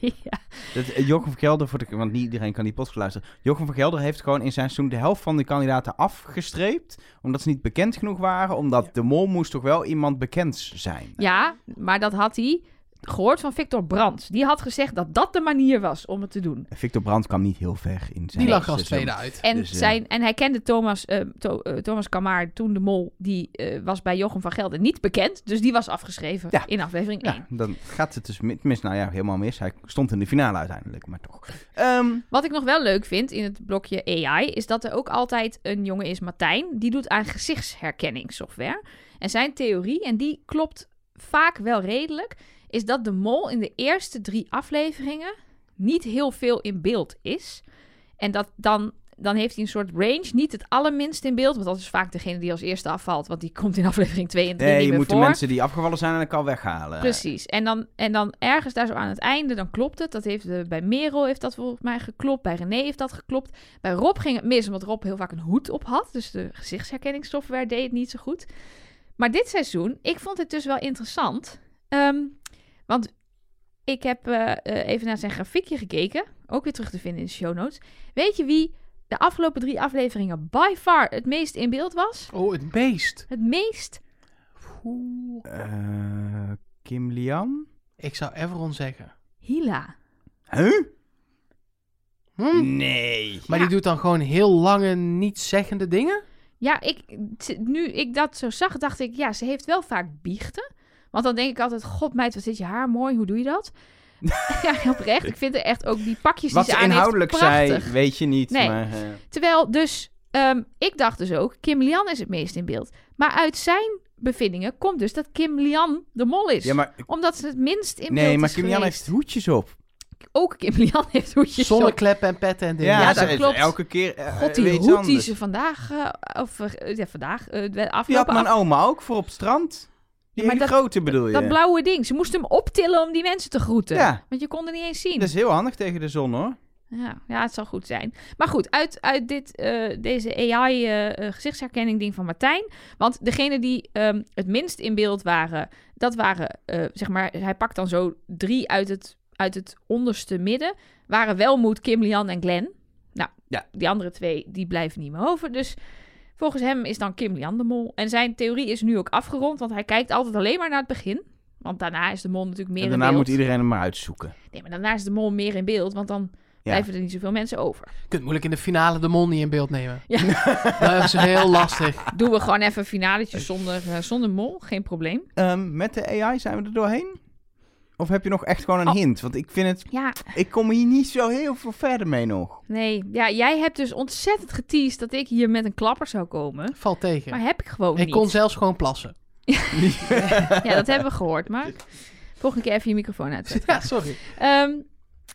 [SPEAKER 3] ja,
[SPEAKER 1] Dat, eh, Jochem van Gelder, voor de, want niet iedereen kan die podcast luisteren. Jochem van Gelder heeft gewoon in zijn seizoen de helft van de kandidaten afgestreept. Omdat ze niet bekend genoeg waren. Omdat de mol moest toch wel iemand bekend zijn.
[SPEAKER 3] ja, maar dat had hij gehoord van Victor Brands. Die had gezegd dat dat de manier was om het te doen.
[SPEAKER 1] Victor Brandt kwam niet heel ver in zijn
[SPEAKER 2] Die lag als
[SPEAKER 1] seizoen.
[SPEAKER 2] tweede uit.
[SPEAKER 3] En,
[SPEAKER 1] Dus, eh,
[SPEAKER 3] zijn, en hij kende Thomas, eh, To- eh, Thomas Kamaar, toen de mol, die eh, was bij Jochem van Gelder niet bekend. Dus die was afgeschreven
[SPEAKER 1] Ja.
[SPEAKER 3] in aflevering 1.
[SPEAKER 1] Ja, dan gaat het dus mi- mis. Nou ja, helemaal mis. Hij stond in de finale uiteindelijk, maar toch. Ehm,
[SPEAKER 3] Wat ik nog wel leuk vind in het blokje AI is dat er ook altijd een jongen is, Martijn, die doet aan gezichtsherkenningssoftware. En zijn theorie, en die klopt vaak wel redelijk, is dat de mol in de eerste drie afleveringen niet heel veel in beeld is. En dat dan, dan heeft hij een soort range, niet het allerminst in beeld, want dat is vaak degene die als eerste afvalt, want die komt in aflevering 2 en 3
[SPEAKER 1] nee,
[SPEAKER 3] niet
[SPEAKER 1] je
[SPEAKER 3] meer
[SPEAKER 1] moet de
[SPEAKER 3] voor.
[SPEAKER 1] mensen die afgevallen zijn aan elkaar weghalen.
[SPEAKER 3] Precies. En dan, en dan ergens daar zo aan het einde, dan klopt het. Dat heeft eh, bij Merel heeft dat volgens mij geklopt. Bij René heeft dat geklopt. Bij Rob ging het mis, omdat Rob heel vaak een hoed op had. Dus de gezichtsherkenningssoftware deed het niet zo goed. Maar dit seizoen, ik vond het dus wel interessant. Ehm, want ik heb eh, eh, even naar zijn grafiekje gekeken. Ook weer terug te vinden in de show notes. Weet je wie de afgelopen drie afleveringen by far het meest in beeld was?
[SPEAKER 2] Oh, het beest.
[SPEAKER 3] Het meest?
[SPEAKER 2] Oeh.
[SPEAKER 1] Eh, Kim Lian?
[SPEAKER 2] Ik zou Everon zeggen.
[SPEAKER 3] Hila.
[SPEAKER 1] Huh?
[SPEAKER 2] Hm?
[SPEAKER 1] Nee.
[SPEAKER 2] Maar
[SPEAKER 3] Ja.
[SPEAKER 2] die doet dan gewoon heel lange, niet-zeggende dingen?
[SPEAKER 3] Ja, ik, t- nu ik dat zo zag, dacht ik, ja, ze heeft wel vaak biechten. Want dan denk ik altijd, god meid, wat zit je haar mooi, hoe doe je dat? ja, oprecht. Ik vind er echt ook die pakjes
[SPEAKER 1] Wat
[SPEAKER 3] die ze
[SPEAKER 1] ze
[SPEAKER 3] aan
[SPEAKER 1] inhoudelijk
[SPEAKER 3] heeft, prachtig.
[SPEAKER 1] zei, weet je niet.
[SPEAKER 3] Nee.
[SPEAKER 1] Maar, eh,
[SPEAKER 3] Terwijl dus, ehm, ik dacht dus ook, Kim Lian is het meest in beeld. Maar uit zijn bevindingen komt dus dat Kim Lian de mol is.
[SPEAKER 1] ja, maar,
[SPEAKER 3] Omdat ze het minst in beeld
[SPEAKER 1] nee, maar
[SPEAKER 3] is
[SPEAKER 1] Kim Lian
[SPEAKER 3] geweest.
[SPEAKER 1] heeft hoedjes op.
[SPEAKER 3] Ook Kim Lian heeft hoedjes op.
[SPEAKER 2] Zonnekleppen en petten en dingen.
[SPEAKER 3] Ja,
[SPEAKER 1] ze
[SPEAKER 3] dat
[SPEAKER 1] heeft
[SPEAKER 3] klopt.
[SPEAKER 1] Elke keer. eh,
[SPEAKER 3] God,
[SPEAKER 1] weer
[SPEAKER 3] die
[SPEAKER 1] iets
[SPEAKER 3] hoed die
[SPEAKER 1] anders.
[SPEAKER 3] ze vandaag, eh, of eh, ja, vandaag, eh, de
[SPEAKER 1] Die had
[SPEAKER 3] afgelopen
[SPEAKER 1] mijn oma ook voor op het strand. Die
[SPEAKER 3] maar
[SPEAKER 1] hele
[SPEAKER 3] dat-
[SPEAKER 1] grote bedoel je.
[SPEAKER 3] Dat blauwe ding. Ze moesten hem optillen om die mensen te groeten.
[SPEAKER 1] Ja. Dus
[SPEAKER 3] Want je kon er niet eens zien.
[SPEAKER 1] Dat is heel handig tegen de zon hoor.
[SPEAKER 3] Ja, ja, het zal goed zijn. Maar goed, uit, uit dit, eh, deze AI-gezichtsherkenning eh, ding van Martijn. Want degene die ehm, het minst in beeld waren, dat waren, eh, zeg maar, hij pakt dan zo drie uit het, uit het onderste midden. Waren Welmoed, Kim Lian en Glenn. Nou,
[SPEAKER 1] Ja.
[SPEAKER 3] die andere twee, die blijven niet meer over. Dus volgens hem is dan Kim Lian de mol. En zijn theorie is nu ook afgerond, want hij kijkt altijd alleen maar naar het begin. Want daarna is de mol natuurlijk meer
[SPEAKER 1] en
[SPEAKER 3] in
[SPEAKER 1] daarna
[SPEAKER 3] beeld.
[SPEAKER 1] moet iedereen hem maar uitzoeken.
[SPEAKER 3] Nee, maar daarna is de mol meer in beeld, want dan blijven er niet zoveel mensen over.
[SPEAKER 2] Je kunt moeilijk in de finale de mol niet in beeld nemen.
[SPEAKER 3] Ja.
[SPEAKER 2] Dat is heel lastig.
[SPEAKER 3] Doen we gewoon even een finaletjes zonder, eh, zonder mol. Geen probleem.
[SPEAKER 1] Ehm, met de AI zijn we er doorheen? Of heb je nog echt gewoon een
[SPEAKER 3] Oh.
[SPEAKER 1] hint? Want ik vind het.
[SPEAKER 3] Ja,
[SPEAKER 1] Ik kom hier niet zo heel veel verder mee nog.
[SPEAKER 3] nee. Ja, jij hebt dus ontzettend geteased dat ik hier met een klapper zou komen.
[SPEAKER 2] Valt tegen.
[SPEAKER 3] Maar heb ik gewoon
[SPEAKER 2] ik
[SPEAKER 3] niet.
[SPEAKER 2] kon zelfs gewoon plassen.
[SPEAKER 3] Ja, dat hebben we gehoord, Mark. Volgende keer even je microfoon uitzetten.
[SPEAKER 2] Ja, sorry.
[SPEAKER 3] Ehm,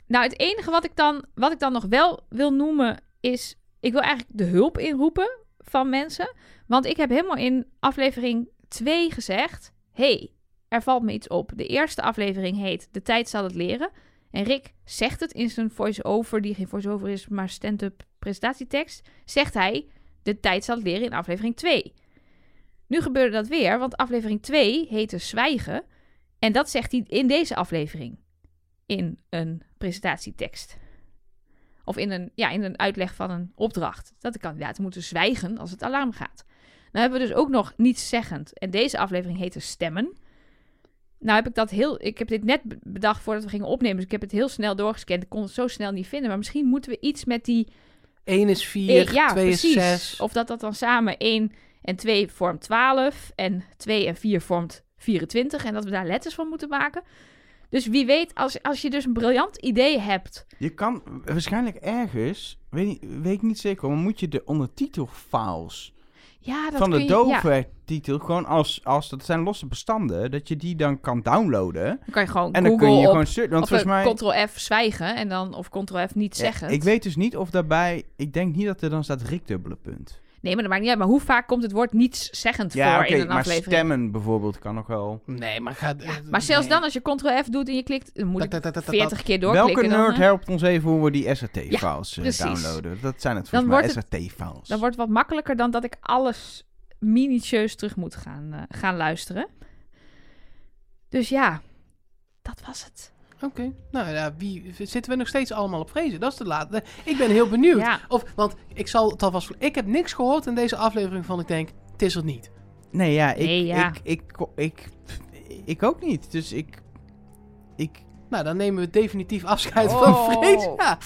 [SPEAKER 3] nou, het enige wat ik, dan, wat ik dan nog wel wil noemen is... Ik wil eigenlijk de hulp inroepen van mensen. Want ik heb helemaal in aflevering 2 gezegd... hey, er valt me iets op. De eerste aflevering heet De Tijd Zal Het Leren. En Rick zegt het in zijn voice-over, die geen voice-over is, maar stand-up presentatietekst. Zegt hij, de tijd zal het leren in aflevering 2. Nu gebeurde dat weer, want aflevering 2 heette Zwijgen. En dat zegt hij in deze aflevering in een presentatietekst. Of in een, ja, in een uitleg van een opdracht. Dat de kandidaten moeten zwijgen als het alarm gaat. Nou hebben we dus ook nog niets zeggend. En deze aflevering heette Stemmen. Nou heb ik dat heel... Ik heb dit net be- bedacht voordat we gingen opnemen. Dus ik heb het heel snel doorgescand. Ik kon het zo snel niet vinden. Maar misschien moeten we iets met die...
[SPEAKER 2] 1 is 4,
[SPEAKER 3] Eh, ja,
[SPEAKER 2] 2 is
[SPEAKER 3] precies.
[SPEAKER 2] 6.
[SPEAKER 3] Of dat dat dan samen 1 en 2 vormt 12 en 2 en 4 vormt 24 en dat we daar letters van moeten maken. Dus wie weet, als, als je dus een briljant idee hebt.
[SPEAKER 1] Je kan waarschijnlijk ergens. Weet, niet- weet ik niet zeker. Maar moet je de ondertitelfiles.
[SPEAKER 3] Ja, dat
[SPEAKER 1] van
[SPEAKER 3] kun
[SPEAKER 1] de
[SPEAKER 3] je, ja,
[SPEAKER 1] Dover-titel. Gewoon als, als dat zijn losse bestanden, dat je die dan kan downloaden.
[SPEAKER 3] dan kan je gewoon
[SPEAKER 1] en dan
[SPEAKER 3] Google
[SPEAKER 1] kun je
[SPEAKER 3] op,
[SPEAKER 1] gewoon searchen. Want
[SPEAKER 3] of
[SPEAKER 1] volgens mij.
[SPEAKER 3] Ctrl-F zwijgen en dan, of Ctrl-F niet
[SPEAKER 1] Ja,
[SPEAKER 3] zeggen.
[SPEAKER 1] ik weet dus niet of daarbij. Ik denk niet dat er dan staat Rick dubbele punt.
[SPEAKER 3] Nee, maar dat maakt niet uit. Maar hoe vaak komt het woord nietszeggend
[SPEAKER 1] Ja,
[SPEAKER 3] voor
[SPEAKER 1] oké,
[SPEAKER 3] in een
[SPEAKER 1] maar
[SPEAKER 3] aflevering?
[SPEAKER 1] stemmen bijvoorbeeld kan nog wel.
[SPEAKER 2] Nee, maar ga...
[SPEAKER 3] Maar zelfs dan, als je ctrl-f doet en je klikt, dan moet ik 40 keer doorklikken.
[SPEAKER 1] Welke nerd
[SPEAKER 3] dan, eh,
[SPEAKER 1] helpt ons even hoe we die SRT-files
[SPEAKER 3] precies.
[SPEAKER 1] eh, downloaden? Dat zijn het
[SPEAKER 3] Dan
[SPEAKER 1] volgens mij,
[SPEAKER 3] wordt
[SPEAKER 1] SRT-files.
[SPEAKER 3] dan wordt het wat makkelijker dan dat ik alles minutieus terug moet gaan, eh, gaan luisteren. Dus ja, dat was het.
[SPEAKER 2] Oké. Nou ja, wie, zitten we nog steeds allemaal op vrezen? Dat is de laatste. Ik ben heel benieuwd.
[SPEAKER 3] Ja.
[SPEAKER 2] Of, want ik zal het alvast... Ik heb niks gehoord in deze aflevering van ik denk, het is er niet.
[SPEAKER 1] Nee, ja, ik,
[SPEAKER 3] Nee, ja.
[SPEAKER 1] Ik, ik, ik, ik, ik ook niet. Dus ik... ik
[SPEAKER 2] Nou, dan nemen we definitief afscheid
[SPEAKER 3] Oh.
[SPEAKER 2] van vrees. Ja.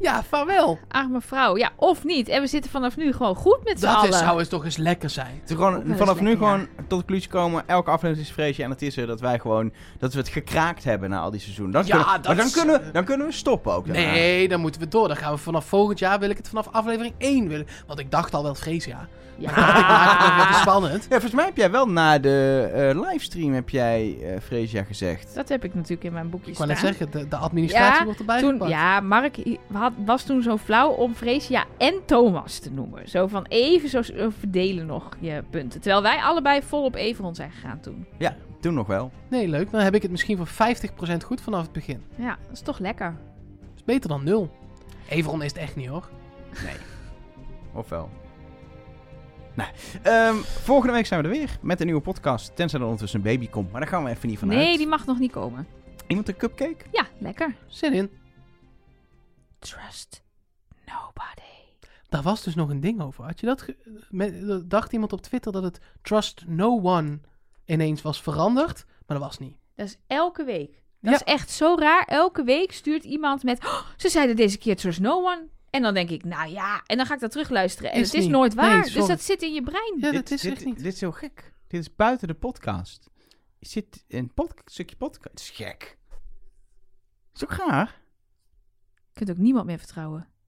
[SPEAKER 2] ja, vaarwel.
[SPEAKER 3] Arme vrouw, ja, of niet. En we zitten vanaf nu gewoon goed met z'n
[SPEAKER 2] Dat
[SPEAKER 3] allen.
[SPEAKER 2] is, zou eens toch eens lekker zijn.
[SPEAKER 1] het is
[SPEAKER 3] Ook wel
[SPEAKER 1] gewoon,
[SPEAKER 3] eens
[SPEAKER 1] vanaf nu
[SPEAKER 3] lekker, ja.
[SPEAKER 1] gewoon tot de conclusie komen. Elke aflevering is vreesje. En het is er dat wij gewoon... Dat we het gekraakt hebben na al die seizoenen. Dat
[SPEAKER 2] Ja,
[SPEAKER 1] kunnen,
[SPEAKER 2] dat
[SPEAKER 1] maar dan,
[SPEAKER 2] is-
[SPEAKER 1] kunnen, we- dan kunnen we stoppen ook daarna.
[SPEAKER 2] Nee, dan moeten we door. Dan gaan we vanaf volgend jaar, wil ik het vanaf aflevering 1 willen. Want ik dacht al wel vreesjaar.
[SPEAKER 3] Ja.
[SPEAKER 2] Maar ik maak het nog wel weer spannend.
[SPEAKER 1] Ja, volgens mij heb jij wel na de eh, livestream heb jij eh Freesia gezegd.
[SPEAKER 3] Dat heb ik natuurlijk in mijn boekje
[SPEAKER 2] Ik wou
[SPEAKER 3] staan.
[SPEAKER 2] net zeggen, de, de administratie
[SPEAKER 3] Ja,
[SPEAKER 2] wordt erbij
[SPEAKER 3] Toen,
[SPEAKER 2] gepakt.
[SPEAKER 3] ja, Mark i- had, was toen zo flauw om Freesia en Thomas te noemen. Zo van even zo zo verdelen nog je punten. Terwijl wij allebei volop Everon zijn gegaan toen.
[SPEAKER 1] Ja, toen nog wel.
[SPEAKER 2] Nee, leuk. Dan heb ik het misschien voor 50% goed vanaf het begin.
[SPEAKER 3] Ja, dat is toch lekker.
[SPEAKER 2] is beter dan nul. Everon is het echt niet hoor.
[SPEAKER 1] Of wel? Nou, ehm, volgende week zijn we er weer met een nieuwe podcast. Tenzij er ondertussen een baby komt, maar daar gaan we even niet vanuit.
[SPEAKER 3] Nee, die mag nog niet komen.
[SPEAKER 1] Iemand een cupcake?
[SPEAKER 3] Ja, lekker.
[SPEAKER 2] Zin in.
[SPEAKER 3] Trust nobody.
[SPEAKER 2] Daar was dus nog een ding over. Had je dat ge- me- dat dacht iemand op Twitter dat het Trust No One ineens was veranderd, maar dat was niet.
[SPEAKER 3] Dat is elke week. Dat
[SPEAKER 2] Ja.
[SPEAKER 3] is echt zo raar. Elke week stuurt iemand met... "Oh, ze zeiden deze keer trust no one. En dan denk ik, nou ja. En dan ga ik dat terugluisteren. En
[SPEAKER 2] Is
[SPEAKER 3] het is
[SPEAKER 2] niet.
[SPEAKER 3] nooit
[SPEAKER 2] Nee,
[SPEAKER 3] waar.
[SPEAKER 2] sorry.
[SPEAKER 3] dus dat zit in je brein.
[SPEAKER 2] Ja,
[SPEAKER 1] dit,
[SPEAKER 2] dat is
[SPEAKER 1] dit,
[SPEAKER 2] echt niet.
[SPEAKER 1] Dit is heel gek. Dit is buiten de podcast. Er zit een podca- stukje podcast. Het is gek. is ook raar.
[SPEAKER 3] Je kunt ook niemand meer vertrouwen.